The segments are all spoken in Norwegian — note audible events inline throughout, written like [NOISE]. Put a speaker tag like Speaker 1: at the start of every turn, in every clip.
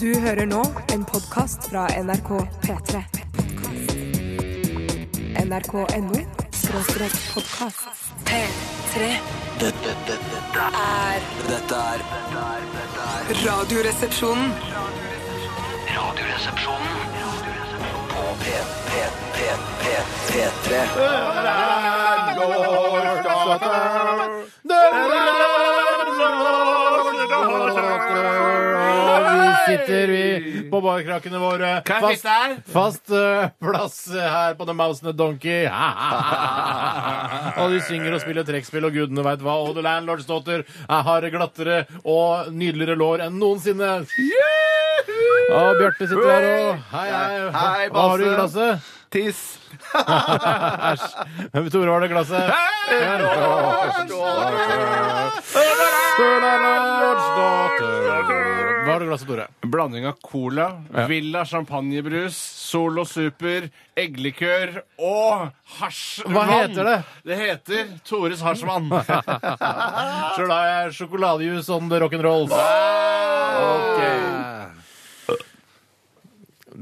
Speaker 1: Du hører nå en podkast fra NRK P3. NRK.no skråstrek podkast. P3.
Speaker 2: Dette, dette, dette,
Speaker 1: er
Speaker 2: dette er dette er- dette er
Speaker 1: Radioresepsjonen.
Speaker 2: Radioresepsjonen på P, P, P, P, P3.
Speaker 3: Og vi sitter vi på barkrakkene våre. Fast, fast eh, plass her på The Mouse and the Donkey. og de synger og spiller trekkspill og gudene veit hva. Og The Landlords Daughter er har glattere og nydeligere lår enn noensinne. Og Bjarte sitter der og Hei, hei.
Speaker 4: Hei,
Speaker 3: Hva har du i
Speaker 4: Basse. [LAUGHS]
Speaker 3: glasset?
Speaker 4: Tiss.
Speaker 3: Æsj. Hvem Tore har det glasset? Hva har du i glasset, Tore?
Speaker 4: Blanding av cola, Villa champagnebrus, Solo Super, eggelikør og hasjvann.
Speaker 3: Hva heter det?
Speaker 4: Det heter Tores hasjvann.
Speaker 3: Sjøl har jeg sjokoladejus on the rock'n'roll.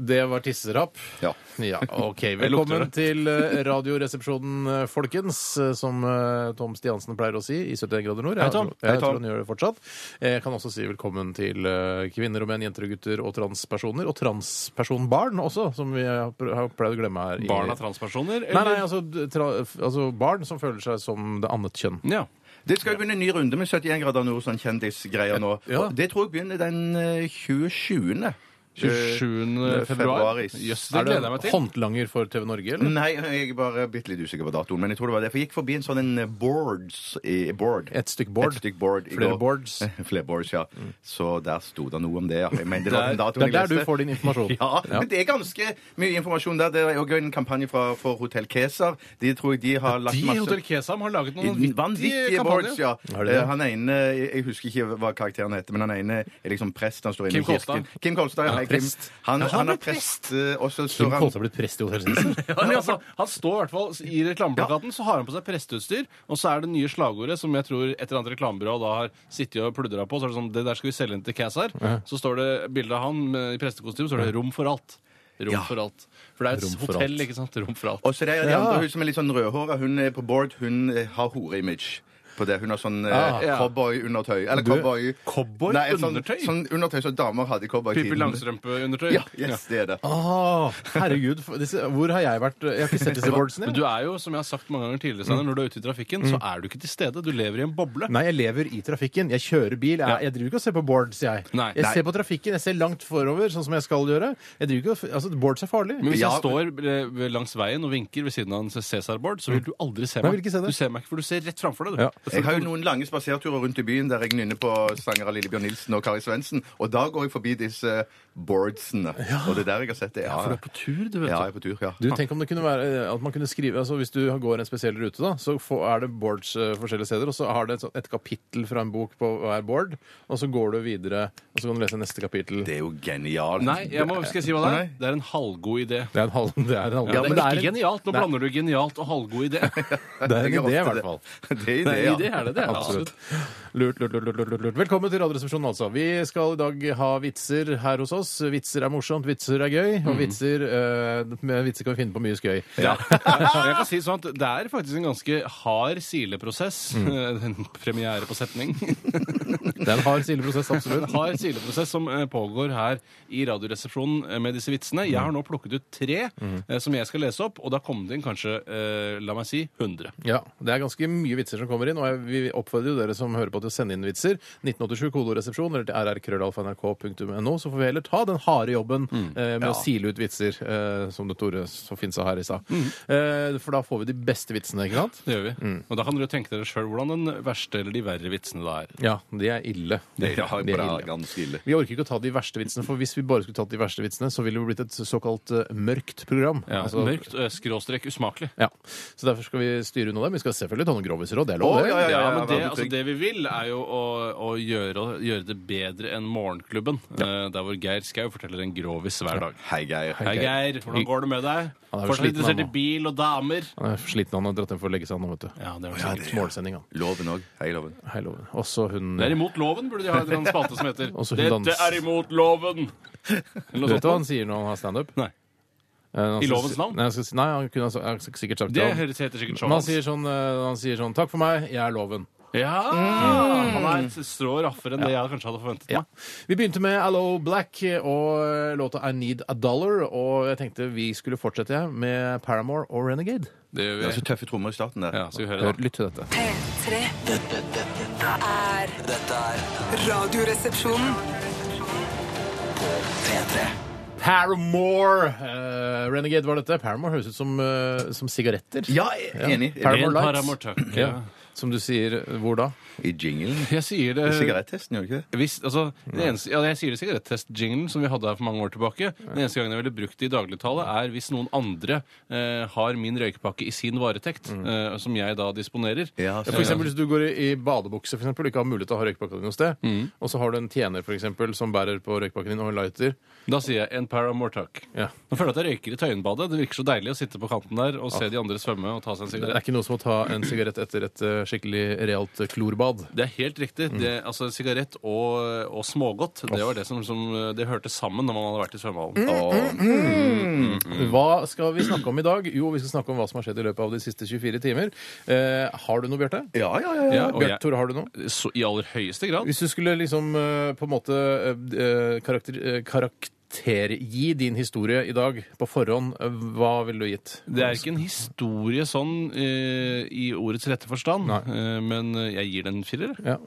Speaker 3: Det var tisserapp.
Speaker 4: Ja.
Speaker 3: Ja,
Speaker 4: [LAUGHS]
Speaker 3: ok.
Speaker 4: lukter
Speaker 3: Velkommen
Speaker 4: det.
Speaker 3: til eh, Radioresepsjonen, eh, folkens, eh, som eh, Tom Stiansen pleier å si i 71 grader nord. Jeg,
Speaker 4: Hei, Tom.
Speaker 3: tror- jeg
Speaker 4: Hei, Tom.
Speaker 3: tror han gjør det fortsatt. Eh, Jeg kan også si velkommen til eh, kvinner og menn, jenter og gutter og transpersoner. Og transpersonbarn også, som vi har pr- har pleid å glemme her. i-
Speaker 4: Barn av transpersoner?
Speaker 3: Nei, nei, altså, d- tra, f- altså barn som føler seg som det annet kjønn.
Speaker 4: Ja.
Speaker 5: Det skal jo begynne en ny runde med 71 grader nord, sånn kjendisgreier nå.
Speaker 3: Ja.
Speaker 5: Og Det tror jeg begynner den eh, 27.
Speaker 4: 27.
Speaker 5: Eh,
Speaker 4: februar.
Speaker 5: februaris.
Speaker 4: Jøss, det
Speaker 3: Er du
Speaker 4: gleder jeg meg til.
Speaker 3: håndlanger for TV Norge, eller?
Speaker 5: Nei, jeg er bare bitte litt usikker på datoen, men jeg tror det var det. For jeg gikk forbi en sånn en eh, boards i board.
Speaker 3: Mm. Et stykk board.
Speaker 5: Et stykk board i
Speaker 3: Flere
Speaker 5: går.
Speaker 3: [LAUGHS] boards.
Speaker 5: [LAUGHS] Flere boards, ja. Så der sto det noe om det, ja. Jeg mener,
Speaker 3: [LAUGHS]
Speaker 5: det var den datoen
Speaker 3: Det er
Speaker 5: jeg
Speaker 3: der du
Speaker 5: leste.
Speaker 3: får din [LAUGHS] informasjon.
Speaker 5: [LAUGHS] Ja, men det er ganske mye informasjon der. Det er jo en kampanje fra, for Hotell Keser. De tror jeg de har lagt
Speaker 4: De i
Speaker 5: masse
Speaker 4: Hotell Kesam har laget noen
Speaker 5: Vanvittige
Speaker 4: vanvittige
Speaker 5: boards,
Speaker 4: kampanjer.
Speaker 5: ja.
Speaker 3: Er det det?
Speaker 5: Eh, Han ene Jeg husker ikke hva karakteren heter, men han ene er liksom prest. Han står inne
Speaker 4: Kim
Speaker 5: i kirken.
Speaker 4: Kolstad.
Speaker 5: Kim Kolstad. Ja, hei, Kim.
Speaker 3: prest.
Speaker 5: Han,
Speaker 4: Ja, han
Speaker 5: han
Speaker 4: ble
Speaker 5: er prest, eh, og så
Speaker 3: Kim
Speaker 5: står han
Speaker 3: Kolstad er blitt prest i Hotell [LAUGHS] Cæsar.
Speaker 4: Ja, men altså, han står i hvert fall i reklameplakaten, så har han på seg presteutstyr, og så er det nye slagordet som jeg tror et eller annet reklamebyrå da har sittet og pludra på. Så er det sånn Det der skal vi selge inn til Cæsar. Så står det bilde av han med, i prestekostyme, så står det 'Rom for alt'. Rom
Speaker 5: Ja.
Speaker 4: for alt. For det er
Speaker 3: Rom
Speaker 4: et
Speaker 3: for
Speaker 4: hotell,
Speaker 3: alt.
Speaker 4: ikke sant? Rom for alt.
Speaker 5: Og så det er det
Speaker 3: Ja.
Speaker 5: andre hun som er litt sånn rødhåra. Hun er på board. Hun eh, har horeimage. På det. Hun har sånn eh,
Speaker 3: Ah,
Speaker 4: ja.
Speaker 5: cowboy-undertøy. Eller
Speaker 3: Du-
Speaker 5: cowboy...
Speaker 4: cowboy
Speaker 5: Nei, sånn,
Speaker 4: undertøy?
Speaker 5: Sånn undertøy som damer hadde i
Speaker 4: Pippi
Speaker 5: cowboytiden.
Speaker 4: Langstrømpe-undertøy.
Speaker 5: Ja, yes, det er det.
Speaker 3: Åh, Ah, herregud, for- disse, hvor har jeg vært? Jeg har ikke sett [LAUGHS] disse boardsene.
Speaker 4: Men
Speaker 3: jeg.
Speaker 4: du er jo, som jeg har sagt mange ganger tidligere, Steinar, når du er ute i trafikken, så er du ikke til stede. Du lever i en boble.
Speaker 3: Mm. Nei, jeg lever i trafikken. Jeg kjører bil. Jeg, jeg driver ikke og ser på boards, jeg.
Speaker 4: Nei.
Speaker 3: jeg
Speaker 4: Nei.
Speaker 3: ser på trafikken, jeg ser langt forover, sånn som jeg skal gjøre. Jeg driver ikke og, altså, Boards er farlig.
Speaker 4: Men hvis
Speaker 5: Ja.
Speaker 4: jeg står eh, ved- langs veien og vinker ved siden av en Cæsar-board, så vil du aldri se
Speaker 3: Mm. Nei,
Speaker 4: meg.
Speaker 3: jeg vil ikke se det.
Speaker 4: Du ser meg ikke, for du ser rett framfor deg. Du.
Speaker 3: Ja.
Speaker 5: Jeg har jo noen lange spaserturer rundt i byen der jeg nynner på sanger av Lillebjørn Nilsen og Kari Svendsen, og da går jeg forbi disse boardsene. Og det er der jeg har sett det. Ja,
Speaker 4: For du er på tur, du, vet
Speaker 5: ja, jeg er på tur, ja.
Speaker 3: Du, tenk om det kunne være eh, at man kunne skrive altså Hvis du går en spesiell rute, da, så få- er det boards eh, forskjellige steder, og så har det et, sånt- et kapittel fra en bok på hver board, og så går du videre, og så kan du lese neste kapittel.
Speaker 5: Ah. Det er jo genialt.
Speaker 4: Nei, jeg må, skal jeg si hva det er?
Speaker 5: Nei.
Speaker 4: Det er en halvgod idé.
Speaker 3: Det er en halv... Det er en halv
Speaker 4: Ja, men det er
Speaker 3: en-
Speaker 4: ikke genialt. Nå blander du genialt og halvgod [LAUGHS] idé.
Speaker 3: Det er en
Speaker 5: Jeg
Speaker 3: idé, i
Speaker 5: ofte
Speaker 3: hvert fall.
Speaker 5: [LAUGHS] Det, det
Speaker 4: Nei,
Speaker 5: er idé,
Speaker 4: idé
Speaker 5: ja.
Speaker 4: er det, det er det,
Speaker 3: Absolutt.
Speaker 4: absolutt.
Speaker 3: Lurt, lurt, lurt, lurt, lurt, lurt. Velkommen til Radioresepsjonen, altså. Vi skal i dag ha vitser her hos oss. Vitser er morsomt, vitser er gøy, og vitser, eh, med vitser kan vi finne på mye skøy.
Speaker 4: Ja. Jeg kan si sånn at Det er faktisk en ganske hard sileprosess. [LAUGHS] En premiere på setning. [LAUGHS]
Speaker 3: Det er en hard sileprosess, absolutt.
Speaker 4: En hard sileprosess som eh, pågår her i Radioresepsjonen eh, med disse vitsene. Jeg har nå plukket ut tre eh, som jeg skal lese opp, og da kom det inn kanskje, eh, la meg si, 100.
Speaker 3: Ja, Det er ganske mye vitser som kommer inn, og jeg, vi oppfordrer jo dere som hører på til å sende inn vitser. 1987 kodoresepsjon eller til rrkrøllalfa.nrk.no, så får vi heller ta den harde jobben
Speaker 5: Mm.
Speaker 3: eh, med å sile ut vitser, eh, som det Tore så fint sa her i stad.
Speaker 5: Mm.
Speaker 3: Eh, for da får vi de beste vitsene, ikke sant?
Speaker 4: Det gjør vi. Og da kan dere jo tenke dere sjøl hvordan den verste eller de verre vitsene det er.
Speaker 3: Ja, de er ille.
Speaker 5: Det er
Speaker 3: De er
Speaker 5: bra,
Speaker 3: ille.
Speaker 5: ganske ille.
Speaker 3: Vi orker ikke å ta de verste vitsene, for hvis vi bare skulle tatt de verste vitsene, så ville det blitt et såkalt eh, mørkt program.
Speaker 4: Ja,
Speaker 3: Altså-
Speaker 4: mørkt, eh, skråstrek, usmakelig.
Speaker 3: Ja. Så derfor skal vi styre unna dem. Vi skal selvfølgelig ta noen grovviser òg, det er
Speaker 5: Å,
Speaker 3: lov, det.
Speaker 5: ja, ja, ja,
Speaker 4: Ja, men det,
Speaker 5: vær så
Speaker 4: altså,
Speaker 5: trygg.
Speaker 4: det vi vil, er jo å, å gjøre, gjøre det bedre enn Morgenklubben. eh, Der hvor Geir Skau forteller en grovis hver dag.
Speaker 5: Hei, Geir.
Speaker 4: Hei, Geir. Hvordan går det med deg?
Speaker 3: Han er vel
Speaker 4: Fortsatt
Speaker 3: sliten, han
Speaker 4: interessert i
Speaker 3: nå.
Speaker 4: bil og damer?
Speaker 3: Han er sliten, han har dratt hjem for å legge seg nå, vet du.
Speaker 4: Ja, det er vel
Speaker 3: Ja,
Speaker 4: sikkert.
Speaker 3: Målsending, han.
Speaker 5: Loven òg. Hei, Loven.
Speaker 3: Hei, loven. Også hun
Speaker 4: Det er imot loven, burde de ha en eller annen spalte som heter
Speaker 3: [LAUGHS] Og så hun
Speaker 4: 'Dette
Speaker 3: dans-
Speaker 4: er imot loven'. Eller
Speaker 3: Du
Speaker 4: noe
Speaker 3: vet hva han
Speaker 4: sånt.
Speaker 3: sier når han har standup?
Speaker 4: Nei.
Speaker 3: Eh, han
Speaker 4: I
Speaker 3: skal
Speaker 4: lovens
Speaker 3: si-
Speaker 4: navn?
Speaker 3: Nei, han, skal, si- nei, han kunne ha sa- han sikkert sagt
Speaker 4: Det
Speaker 3: han-
Speaker 4: høres- heter sikkert
Speaker 3: Men han
Speaker 4: showet.
Speaker 3: sier, sånn, eh, han sier sånn Takk for meg, jeg er loven.
Speaker 4: Ja!
Speaker 3: Mm.
Speaker 4: Han er et strå raffere enn det jeg kanskje hadde forventet meg.
Speaker 3: Vi begynte med Allo Black og eh, låta I Need A Dollar. Og jeg tenkte vi skulle fortsette jeg, med Paramore og Renegade.
Speaker 4: Det gjør
Speaker 5: Det er så tøffe trommer i starten der.
Speaker 4: Ja, skal vi høre,
Speaker 3: Hør,
Speaker 4: da.
Speaker 3: lytt til dette.
Speaker 1: P3
Speaker 2: Dette, dette, dette,
Speaker 1: er
Speaker 2: dette er
Speaker 1: Radioresepsjonen.
Speaker 2: P3.
Speaker 3: Paramore! Eh, Renegade var dette. Paramore høres ut som, eh, som sigaretter.
Speaker 5: Ja, jeg er enig.
Speaker 3: Ja. Paramore
Speaker 4: En
Speaker 3: Lights.
Speaker 4: paramortøkk.
Speaker 3: Ja. Som du sier Hvor da?
Speaker 5: I jinglen.
Speaker 4: Jeg sier
Speaker 5: I
Speaker 4: det
Speaker 5: sigarettesten, gjør du ikke det?
Speaker 4: Hvis, altså, det eneste, ja, jeg sier det sigarettest-jinglen som vi hadde her for mange år tilbake. Den eneste gangen jeg ville brukt det i dagligtale, er hvis noen andre eh, har min røykepakke i sin varetekt,
Speaker 3: Mm.
Speaker 4: eh, som jeg da disponerer.
Speaker 5: Ja,
Speaker 3: For eksempel, hvis du går i, i badebukse for eksempel, og ikke har mulighet til å ha røykpakka di noe sted, og så har du en tjener for eksempel, som bærer på røykpakken din og en lighter
Speaker 4: Da sier jeg en paramortuck.
Speaker 3: Ja.
Speaker 4: Nå føler jeg at jeg røyker i Tøyenbadet. Det virker så deilig å sitte på kanten der og se de andre svømme og ta seg en
Speaker 3: Det er
Speaker 4: sigarett.
Speaker 3: ikke noe som å ta en sigarett etter et eh, skikkelig realt eh, klorbad.
Speaker 4: Det er helt riktig.
Speaker 3: Mm.
Speaker 4: Det, altså, sigarett og, og smågodt, det var det som, som det hørte sammen når man hadde vært i svømmehallen.
Speaker 3: Mm.
Speaker 5: sånn,
Speaker 3: Hva skal vi snakke om i dag? Jo, vi skal snakke om hva som har skjedd i løpet av de siste 24 timer. Eh, har du noe, Bjarte?
Speaker 5: Ja, ja, ja. ja.
Speaker 4: Ja, og
Speaker 3: Bjarte
Speaker 4: jeg,
Speaker 3: Tore, har du noe?
Speaker 4: så, I aller høyeste grad.
Speaker 3: Hvis du skulle liksom eh, på en måte eh, karakter, eh, karaktergi din historie i dag på forhånd, eh, hva ville du gitt?
Speaker 4: Det er ikke en historie sånn eh, i ordets rette forstand,
Speaker 3: Nei.
Speaker 4: eh, men jeg gir den en firer. jeg.
Speaker 3: Ja,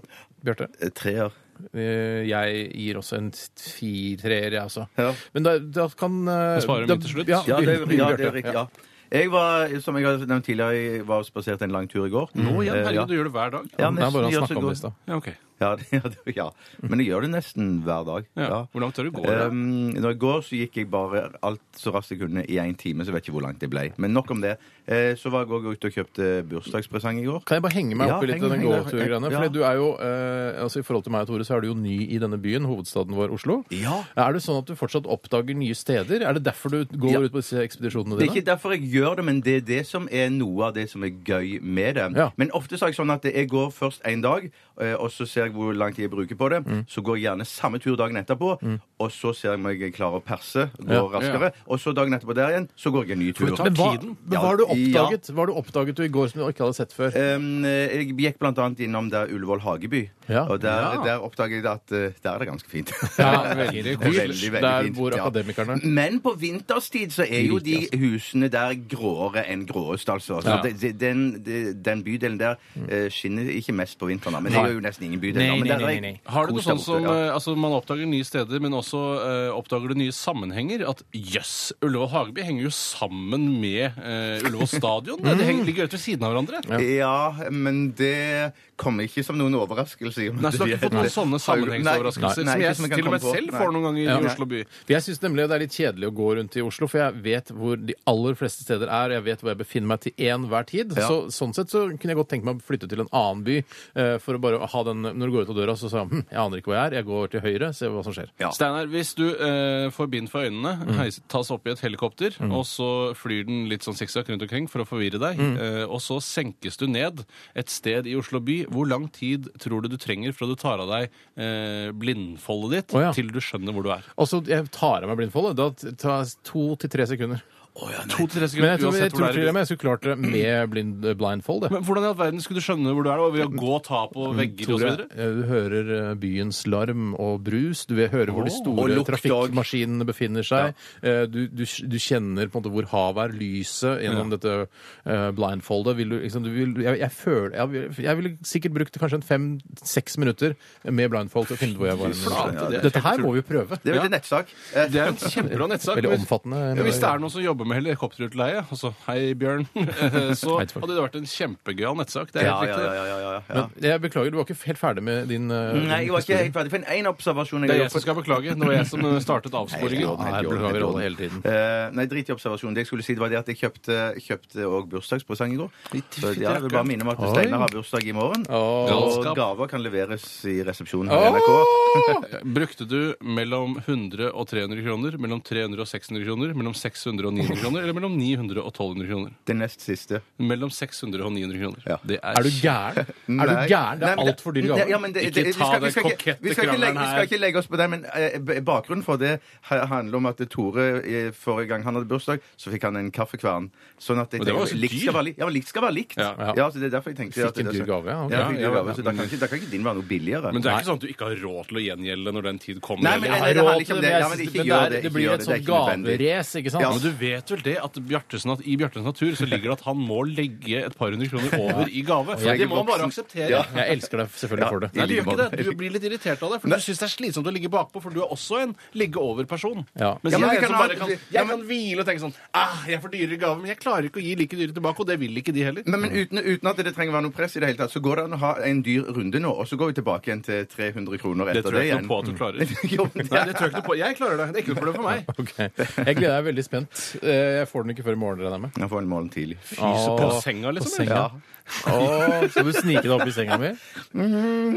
Speaker 3: Bjarte?
Speaker 5: Eh, Treer.
Speaker 3: Eh, Jeg gir også en fire-treer, jeg også.
Speaker 5: Ja.
Speaker 3: Men da, da kan eh,
Speaker 4: Da sparer vi
Speaker 3: da-
Speaker 4: til slutt.
Speaker 3: Ja,
Speaker 5: Ja, det,
Speaker 3: begynn- begynn,
Speaker 5: ja, det
Speaker 3: Bjarte.
Speaker 5: er riktig. Ja. Jeg var, som jeg har nevnt tidligere, jeg var spasert en lang tur i går.
Speaker 4: Å, igjen,
Speaker 5: Eh,
Speaker 4: Mm. herregud, du gjør det hver dag.
Speaker 5: Ja,
Speaker 3: Det er bare
Speaker 5: nesten,
Speaker 3: å
Speaker 5: jeg gjør så
Speaker 3: snakke om
Speaker 5: godt.
Speaker 3: det i stad.
Speaker 4: Ja, ok.
Speaker 5: Ja, det- ja, det- ja, men jeg gjør det nesten hver dag.
Speaker 4: Ja. Eh,
Speaker 5: Ja.
Speaker 4: Hvor langt tør du gå? da?
Speaker 5: Um, når jeg går, så gikk jeg bare alt så raskt jeg kunne i én time. Så vet jeg ikke hvor langt det ble. Men nok om det. Eh, Så var jeg også ute og kjøpte bursdagspresang i går.
Speaker 3: Kan jeg bare henge meg
Speaker 5: Ja,
Speaker 3: opp i litt
Speaker 5: heng-
Speaker 3: av den
Speaker 5: heng deg-
Speaker 3: gåturgreiene?
Speaker 5: ja.
Speaker 3: Fordi du er jo, eh, altså I forhold til meg og Tore, så er du jo ny i denne byen, hovedstaden vår, Oslo.
Speaker 5: Ja.
Speaker 3: Er det sånn at du fortsatt oppdager nye steder? Er det derfor du går
Speaker 5: Ja.
Speaker 3: ut på disse ekspedisjonene
Speaker 5: Det
Speaker 3: dine?
Speaker 5: er ikke derfor jeg gjør det, men det er det som er noe av det som er gøy med det.
Speaker 3: Ja.
Speaker 5: Men ofte så er jeg sånn at jeg går først en dag, eh, og så ser jeg hvor lang tid jeg bruker på det.
Speaker 3: Mm.
Speaker 5: Så går jeg gjerne samme tur dagen etterpå, og så ser jeg om jeg klarer å perse, går
Speaker 3: Ja.
Speaker 5: raskere. Og så dagen etterpå der igjen, så går jeg en ny tur.
Speaker 3: Men hva,
Speaker 4: tiden.
Speaker 3: men hva har du
Speaker 5: Ja, ja.
Speaker 3: oppdaget Hva har du oppdaget du i går som du ikke hadde sett før?
Speaker 5: Em, eh, jeg gikk blant annet innom der Ullevål Hageby,
Speaker 3: Ja.
Speaker 5: og der,
Speaker 4: Ja.
Speaker 5: der oppdaget jeg at eh, der er det ganske fint.
Speaker 3: Ja, veldig
Speaker 5: Det er veldig, veldig
Speaker 3: Der
Speaker 5: fint,
Speaker 3: bor
Speaker 5: ja.
Speaker 3: akademikerne.
Speaker 5: Men på vinterstid så er jo
Speaker 3: De
Speaker 5: de
Speaker 3: rike,
Speaker 5: husene der gråere enn gråest, altså. Så
Speaker 3: Ja.
Speaker 5: det- det- den, det- den bydelen der
Speaker 4: Mm.
Speaker 5: eh, skinner ikke mest på vinteren, da. Men det
Speaker 3: Nei.
Speaker 5: er jo nesten ingen bydel.
Speaker 3: Nei,
Speaker 5: da. Men
Speaker 3: nei,
Speaker 5: der er
Speaker 3: nei, nei.
Speaker 4: Har du noe
Speaker 5: kos der
Speaker 4: sånn som
Speaker 5: borte, ja.
Speaker 4: eh, altså Man oppdager nye steder, men også eh, oppdager du nye sammenhenger. At jøss, Ullevål Hageby henger jo sammen med eh, Ullevål stadion. Det henger, ligger rett ved siden av hverandre.
Speaker 5: Ja, men det kommer ikke som noen overraskelse. i og med
Speaker 4: Nei, Så du har
Speaker 5: at
Speaker 4: ikke fått
Speaker 5: de-
Speaker 4: noen sånne sammenhengsoverraskelser
Speaker 5: Nei, nei,
Speaker 4: som
Speaker 5: ikke
Speaker 4: jeg til og
Speaker 5: kan
Speaker 4: med
Speaker 5: komme på.
Speaker 4: selv
Speaker 5: Nei.
Speaker 4: får noen ganger
Speaker 3: Ja.
Speaker 4: i Oslo by?
Speaker 3: For jeg syns nemlig det er litt kjedelig å gå rundt i Oslo, for jeg vet hvor de aller fleste steder er, og jeg vet hvor jeg befinner meg til enhver tid.
Speaker 5: Ja.
Speaker 3: Så sånn sett så kunne jeg godt tenke meg å flytte til en annen by, eh, for å bare ha den Når du går ut av døra, så sa jeg hm, jeg aner ikke hvor jeg er, jeg går til høyre, ser hva som skjer.
Speaker 5: Ja.
Speaker 4: Steinar, hvis du eh, får bind for øynene,
Speaker 3: Mm.
Speaker 4: heis, tas opp i et helikopter, og så flyr den litt sånn sikksakk rundt omkring for å forvirre deg,
Speaker 3: Mm.
Speaker 4: eh, og så senkes du ned et sted i Oslo by, hvor lang tid tror du du trenger fra du tar av deg eh, blindfoldet ditt,
Speaker 3: Å, ja.
Speaker 4: til du skjønner hvor du er?
Speaker 3: Og så jeg tar av meg blindfoldet. Da t- tar jeg to til tre sekunder.
Speaker 4: To til tre
Speaker 3: Men
Speaker 4: sekunder,
Speaker 3: jeg
Speaker 4: uansett
Speaker 3: tror, jeg,
Speaker 4: hvor
Speaker 3: tror
Speaker 4: du
Speaker 3: til
Speaker 4: er. i
Speaker 3: og
Speaker 4: byen.
Speaker 3: med jeg skulle klart det med blind, blindfold. det.
Speaker 4: Men hvordan i all verden skulle du skjønne hvor du er, da? ved å gå og ta
Speaker 3: Mm,
Speaker 4: på vegger og så
Speaker 3: Tore,
Speaker 4: videre?
Speaker 3: eh, du hører eh, byens larm og brus. Du vil høre hvor de
Speaker 5: Og
Speaker 3: store
Speaker 5: lukt
Speaker 3: trafikkmaskinene befinner seg. Eh, Du, du, du kjenner på en måte hvor havet er, lyset gjennom dette eh, blindfoldet. Vil du, liksom, du vil, jeg, jeg, føler, jeg, vil- jeg ville sikkert brukt kanskje en fem-seks minutter med blindfold til å finne ut hvor jeg var.
Speaker 4: flate, det er
Speaker 3: Dette her må vi jo prøve.
Speaker 5: Det er jo en nettsak. Eh,
Speaker 4: Det er en kjempebra nettsak.
Speaker 3: Veldig
Speaker 4: men-
Speaker 3: omfattende.
Speaker 4: Ja, Hvis det er noen som jobber jobber med helikopterutleie, altså hei, Bjørn, [LAUGHS] eh, så
Speaker 3: Hei, takk.
Speaker 4: hadde det vært en kjempegøyal nettsak. Det er
Speaker 5: Ja,
Speaker 4: helt
Speaker 5: ja,
Speaker 4: riktig.
Speaker 5: ja, ja, ja, ja.
Speaker 3: Men jeg beklager, du var ikke helt ferdig med din eh,
Speaker 5: Nei, jeg var ikke
Speaker 3: historie.
Speaker 5: helt ferdig. For en observasjon
Speaker 4: Det er jeg som skal beklage. Det var jeg som eh, startet
Speaker 5: Nei,
Speaker 4: avsporingen.
Speaker 5: nei,
Speaker 3: Ja, her
Speaker 5: helt i orden,
Speaker 3: beklager
Speaker 5: helt i
Speaker 3: alle
Speaker 5: orden.
Speaker 3: hele tiden.
Speaker 5: Eh, nei, drit i observasjonen. Det jeg skulle si, det var det at jeg kjøpte, kjøpte også bursdagspresang i går. Så ja, jeg vil bare minne om at
Speaker 3: Oi.
Speaker 5: Steinar har bursdag i morgen. Og
Speaker 4: Galskap.
Speaker 5: gaver kan leveres i resepsjonen
Speaker 3: Åh!
Speaker 5: her i NRK. [LAUGHS]
Speaker 4: Eh, Brukte du mellom 100 og 300 kroner, mellom 300 og 600 kroner, mellom 600 og 900 kroner, eller mellom 900 og 1200 kroner?
Speaker 5: Det nest siste.
Speaker 4: Mellom 600 og 900 kroner.
Speaker 5: Ja.
Speaker 4: Det
Speaker 3: Er du gæren? Er du
Speaker 5: [LAUGHS] Nei.
Speaker 3: gæren? Det
Speaker 5: Nei,
Speaker 3: er
Speaker 5: men
Speaker 3: altfor dyre
Speaker 5: Nei, ja,
Speaker 3: gaver.
Speaker 5: men det-
Speaker 4: Ikke
Speaker 5: det- vi
Speaker 4: ta
Speaker 5: skal- vi
Speaker 4: den
Speaker 5: skal ikke-
Speaker 4: kokette
Speaker 5: vi skal ikke
Speaker 4: krangelen
Speaker 5: legge- Vi skal
Speaker 4: her.
Speaker 5: ikke legge oss på den, men eh, b- bakgrunnen for det ha- handler om at Tore eh, forrige gang han hadde bursdag, så fikk han en kaffekvern. Sånn at jeg
Speaker 4: Men det var
Speaker 5: tenker,
Speaker 4: jo så
Speaker 5: likt
Speaker 4: dyr.
Speaker 5: skal være likt. Ja, men likt skal være likt.
Speaker 4: Ja,
Speaker 3: ja.
Speaker 5: Ja, så det er derfor jeg tenkte at
Speaker 3: Fikk en
Speaker 5: det-
Speaker 3: dyr gave, ja, ok.
Speaker 5: Ja, fikk
Speaker 4: Ja,
Speaker 5: en dyr
Speaker 4: ja,
Speaker 5: gave, så
Speaker 4: men-
Speaker 5: da kan ikke, da kan ikke din være noe billigere.
Speaker 4: Men det er ikke sånn at du ikke har råd til å gjengjelde når den tid kommer.
Speaker 5: Nei, men
Speaker 4: eller?
Speaker 3: Jeg har
Speaker 5: det- det handler
Speaker 3: råd
Speaker 5: ikke
Speaker 3: til
Speaker 5: om
Speaker 3: det,
Speaker 5: det. Ja,
Speaker 3: men
Speaker 5: men
Speaker 3: det,
Speaker 5: ikke gjør
Speaker 3: er- det
Speaker 5: det, ikke
Speaker 3: blir
Speaker 5: gjør
Speaker 3: et
Speaker 5: det, det
Speaker 3: sånt
Speaker 5: er ikke nødvendig.
Speaker 3: gaverace, ikke sant?
Speaker 5: Ja.
Speaker 4: Men du vet vel det at Bjartesen, at i Bjartesen natur så ligger det at han må legge et par hundre kroner over i gave.
Speaker 5: jeg
Speaker 4: Det
Speaker 5: er
Speaker 4: må man bare
Speaker 5: voksen.
Speaker 4: akseptere.
Speaker 5: Ja.
Speaker 3: Jeg elsker deg selvfølgelig for
Speaker 4: Nei,
Speaker 3: det.
Speaker 4: du gjør
Speaker 5: like
Speaker 4: ikke
Speaker 5: måte.
Speaker 4: det. Du blir litt irritert av det, for du syns det er slitsomt å ligge bakpå, for du er også en ligge-over-person.
Speaker 3: Ja.
Speaker 4: Mens
Speaker 5: Ja,
Speaker 4: jeg,
Speaker 5: men
Speaker 4: er
Speaker 5: vi
Speaker 4: en
Speaker 5: kan
Speaker 4: som
Speaker 5: ha-
Speaker 4: bare kan,
Speaker 5: Ja,
Speaker 4: jeg
Speaker 5: men-
Speaker 4: kan hvile og tenke sånn ah, Jeg får dyrere gave, men jeg klarer ikke å gi like dyre tilbake, og det vil ikke de heller.
Speaker 5: Men, men uten, uten at det trenger å være noe press, i det hele tatt, så går det an å ha en dyr runde nå, og så går vi tilbake igjen til 300 kroner
Speaker 4: Det
Speaker 5: etter
Speaker 4: tror
Speaker 5: det,
Speaker 4: jeg ikke
Speaker 5: igjen.
Speaker 4: noe på at
Speaker 5: [LAUGHS]
Speaker 4: du klarer.
Speaker 5: Jo, men
Speaker 4: [LAUGHS] Nei,
Speaker 5: det-
Speaker 4: det tror jeg ikke noe på. Jeg klarer det. Det er ikke noe problem for meg.
Speaker 3: [LAUGHS] Ok. Jeg gleder meg veldig spent. Eh, Jeg får den ikke før i morgen, regner jeg med.
Speaker 5: Jeg får en morgen tidlig.
Speaker 4: Fyse på
Speaker 3: Åh,
Speaker 4: senga,
Speaker 3: på
Speaker 4: liksom.
Speaker 3: senga.
Speaker 4: eller?
Speaker 3: Å, skal du snike deg opp i senga mi?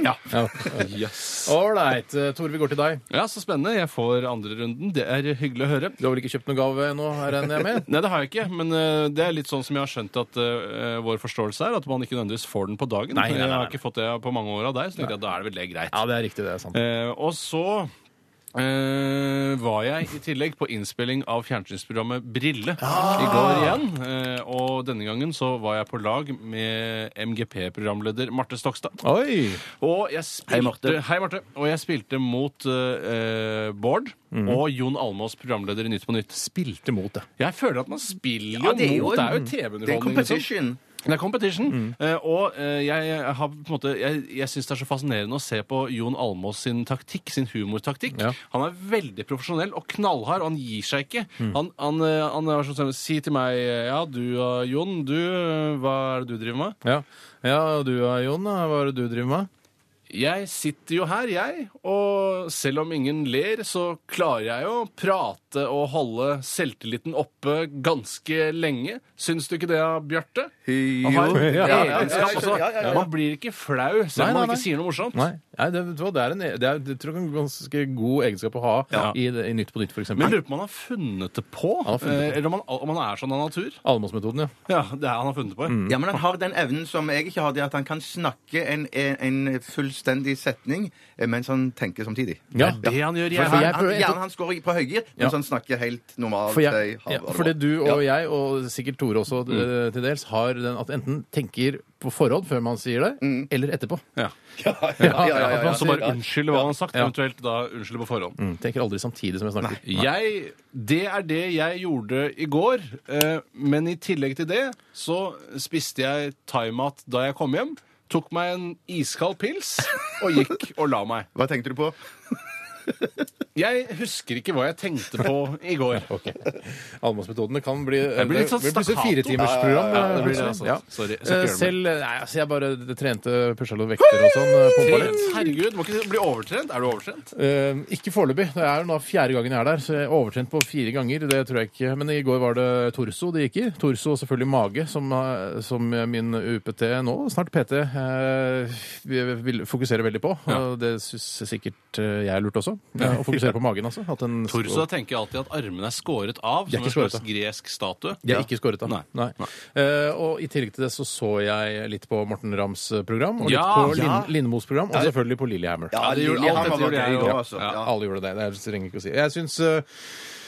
Speaker 4: Ja.
Speaker 3: Ja.
Speaker 4: Yes.
Speaker 3: Ålreit. eh, Tore, vi går til deg.
Speaker 4: Ja, så spennende. Jeg får andre runden. Det er hyggelig å høre.
Speaker 3: Du har vel ikke kjøpt noen gave ennå, regner jeg
Speaker 5: [LAUGHS]
Speaker 3: med?
Speaker 4: Nei, det har jeg ikke, men eh, det er litt sånn som jeg har skjønt at eh, vår forståelse er, at man ikke nødvendigvis får den på dagen.
Speaker 3: Nei, nei, nei,
Speaker 4: Jeg
Speaker 3: nei.
Speaker 4: har ikke fått det på mange år av deg, så tenkte jeg at da er det vel det greit.
Speaker 3: Ja, det er riktig, det er sant.
Speaker 4: Eh, og så eh, var jeg i tillegg på innspilling av fjernsynsprogrammet Brille i
Speaker 5: Ah.
Speaker 4: går igjen. Eh, og denne gangen så var jeg på lag med MGP-programleder Marte Stokstad.
Speaker 3: Oi!
Speaker 4: Og jeg spilte,
Speaker 5: Hei, Marte.
Speaker 4: Hei, Marte. Og jeg spilte mot eh, eh, Bård
Speaker 5: Mm.
Speaker 4: og Jon Almås, programleder i Nytt på Nytt.
Speaker 3: Spilte mot det.
Speaker 4: Jeg føler at man spiller jo
Speaker 5: Ja, det er jo
Speaker 4: mot. Det er jo
Speaker 5: en- Det er
Speaker 4: TV-underholdning. liksom.
Speaker 5: competition.
Speaker 4: Det er competition. Eh, og eh, jeg, har på en måte, jeg, jeg syns det er så fascinerende å se på Jon Almås sin taktikk, sin humortaktikk.
Speaker 3: Ja.
Speaker 4: Han er veldig profesjonell og knallhard, og han gir seg ikke. Han, han, eh, han er sånn som Si til meg Ja, du eh, Jon, du eh, Hva er det du driver med?
Speaker 3: Ja, ja og du da, Jon, da? hva er det du driver med?
Speaker 4: Jeg sitter jo her, jeg, og selv om ingen ler, så klarer jeg jo å prate og holde selvtilliten oppe ganske lenge. Syns du ikke det, Bjarte?
Speaker 5: Jo.
Speaker 4: Han har en
Speaker 3: Ja, ja, ja,
Speaker 4: egenskap også.
Speaker 5: ja, ja, ja.
Speaker 4: Altså, Man blir ikke flau selv
Speaker 3: Nei,
Speaker 4: om man ikke
Speaker 3: nei, nei.
Speaker 4: sier noe morsomt.
Speaker 3: Nei, nei det, vet du hva, det er en, det er, jeg tror jeg er en ganske god egenskap å ha
Speaker 4: Ja.
Speaker 3: i, det- i Nytt på Nytt, f.eks.
Speaker 4: Men jeg lurer på om han har funnet det på,
Speaker 3: har funnet det
Speaker 4: eh,
Speaker 3: på.
Speaker 4: eller om han, om han er sånn av natur.
Speaker 3: Almåsmetoden, ja. Mm.
Speaker 4: Ja, det er han har funnet det på.
Speaker 5: Ja, men han har den evnen som jeg ikke har, det er at han kan snakke en, en, en fullstendig setning eh, mens han tenker samtidig.
Speaker 3: Ja.
Speaker 4: Det er det han gjør.
Speaker 3: For-
Speaker 4: Jeg,
Speaker 3: for
Speaker 5: Han,
Speaker 3: jeg
Speaker 5: han,
Speaker 3: prøver-
Speaker 5: hjernen hans går i- på høygir, mens han snakker helt normalt.
Speaker 3: For jeg,
Speaker 5: eh, ha-
Speaker 3: ja,
Speaker 5: ha-
Speaker 3: fordi du og jeg, og sikkert Tore også eh, til dels, har den at enten tenker på forhånd før man sier det, eller etterpå.
Speaker 4: ja.
Speaker 5: Ja, ja, ja, ja,
Speaker 4: At
Speaker 5: ja.
Speaker 4: man så bare unnskylder hva han har sagt,
Speaker 3: Ja.
Speaker 4: eventuelt da unnskylder på forhånd.
Speaker 3: Mm, Tenker aldri samtidig som jeg snakker.
Speaker 4: Jeg, det er det jeg gjorde i går. Eh, men i tillegg til det så spiste jeg thaimat da jeg kom hjem. Tok meg en iskald pils og gikk og la meg.
Speaker 5: Hva tenkte du på?
Speaker 4: Jeg husker ikke hva jeg tenkte på i
Speaker 3: [LAUGHS]
Speaker 4: går.
Speaker 3: Almåsmetodene kan bli
Speaker 4: Det blir litt sånn
Speaker 3: det blir plutselig
Speaker 4: stakkato.
Speaker 3: fire timers program.
Speaker 4: Ja, ja, ja, det blir det,
Speaker 3: plutselig.
Speaker 4: altså.
Speaker 3: Ja.
Speaker 4: Sorry, jeg skal ikke
Speaker 3: Eh,
Speaker 4: gjøre
Speaker 3: Selv Nei, altså, jeg bare trente pusha noen vekter og sånn. eh, pumpa litt.
Speaker 4: Herregud, må ikke bli overtrent. Er du overtrent?
Speaker 3: Eh, ikke foreløpig. Det er jo nå fjerde gangen jeg er der, så jeg er overtrent på fire ganger. Det tror jeg ikke. Men i går var det torso det gikk i. Torso og selvfølgelig mage, som, eh, som min UPT nå, snart PT, eh, vi- vil fokusere veldig på.
Speaker 4: Ja.
Speaker 3: Og det syns sikkert eh, jeg er lort også. eh, Å fokusere på magen, altså. At den,
Speaker 4: Torso jeg tenker alltid at armene er skåret av,
Speaker 3: De
Speaker 4: som en
Speaker 3: er ikke skåret
Speaker 4: slags
Speaker 3: av.
Speaker 4: gresk statue.
Speaker 3: De er ikke skåret av.
Speaker 4: Nei.
Speaker 3: Eh, og i tillegg til det så så jeg litt på Morten Rams program, og litt
Speaker 4: Ja,
Speaker 3: på
Speaker 5: ja.
Speaker 3: Linn- Lindemos program, og selvfølgelig på Lillehammer.
Speaker 5: Ja,
Speaker 4: det gjorde-
Speaker 5: Lillehammer
Speaker 4: alt det
Speaker 5: var
Speaker 4: gjorde jeg
Speaker 5: gøy
Speaker 4: jo.
Speaker 5: også, altså.
Speaker 4: Ja.
Speaker 5: Ja.
Speaker 3: Alle gjorde det. Det er- trenger jeg ikke å si. Jeg syns eh,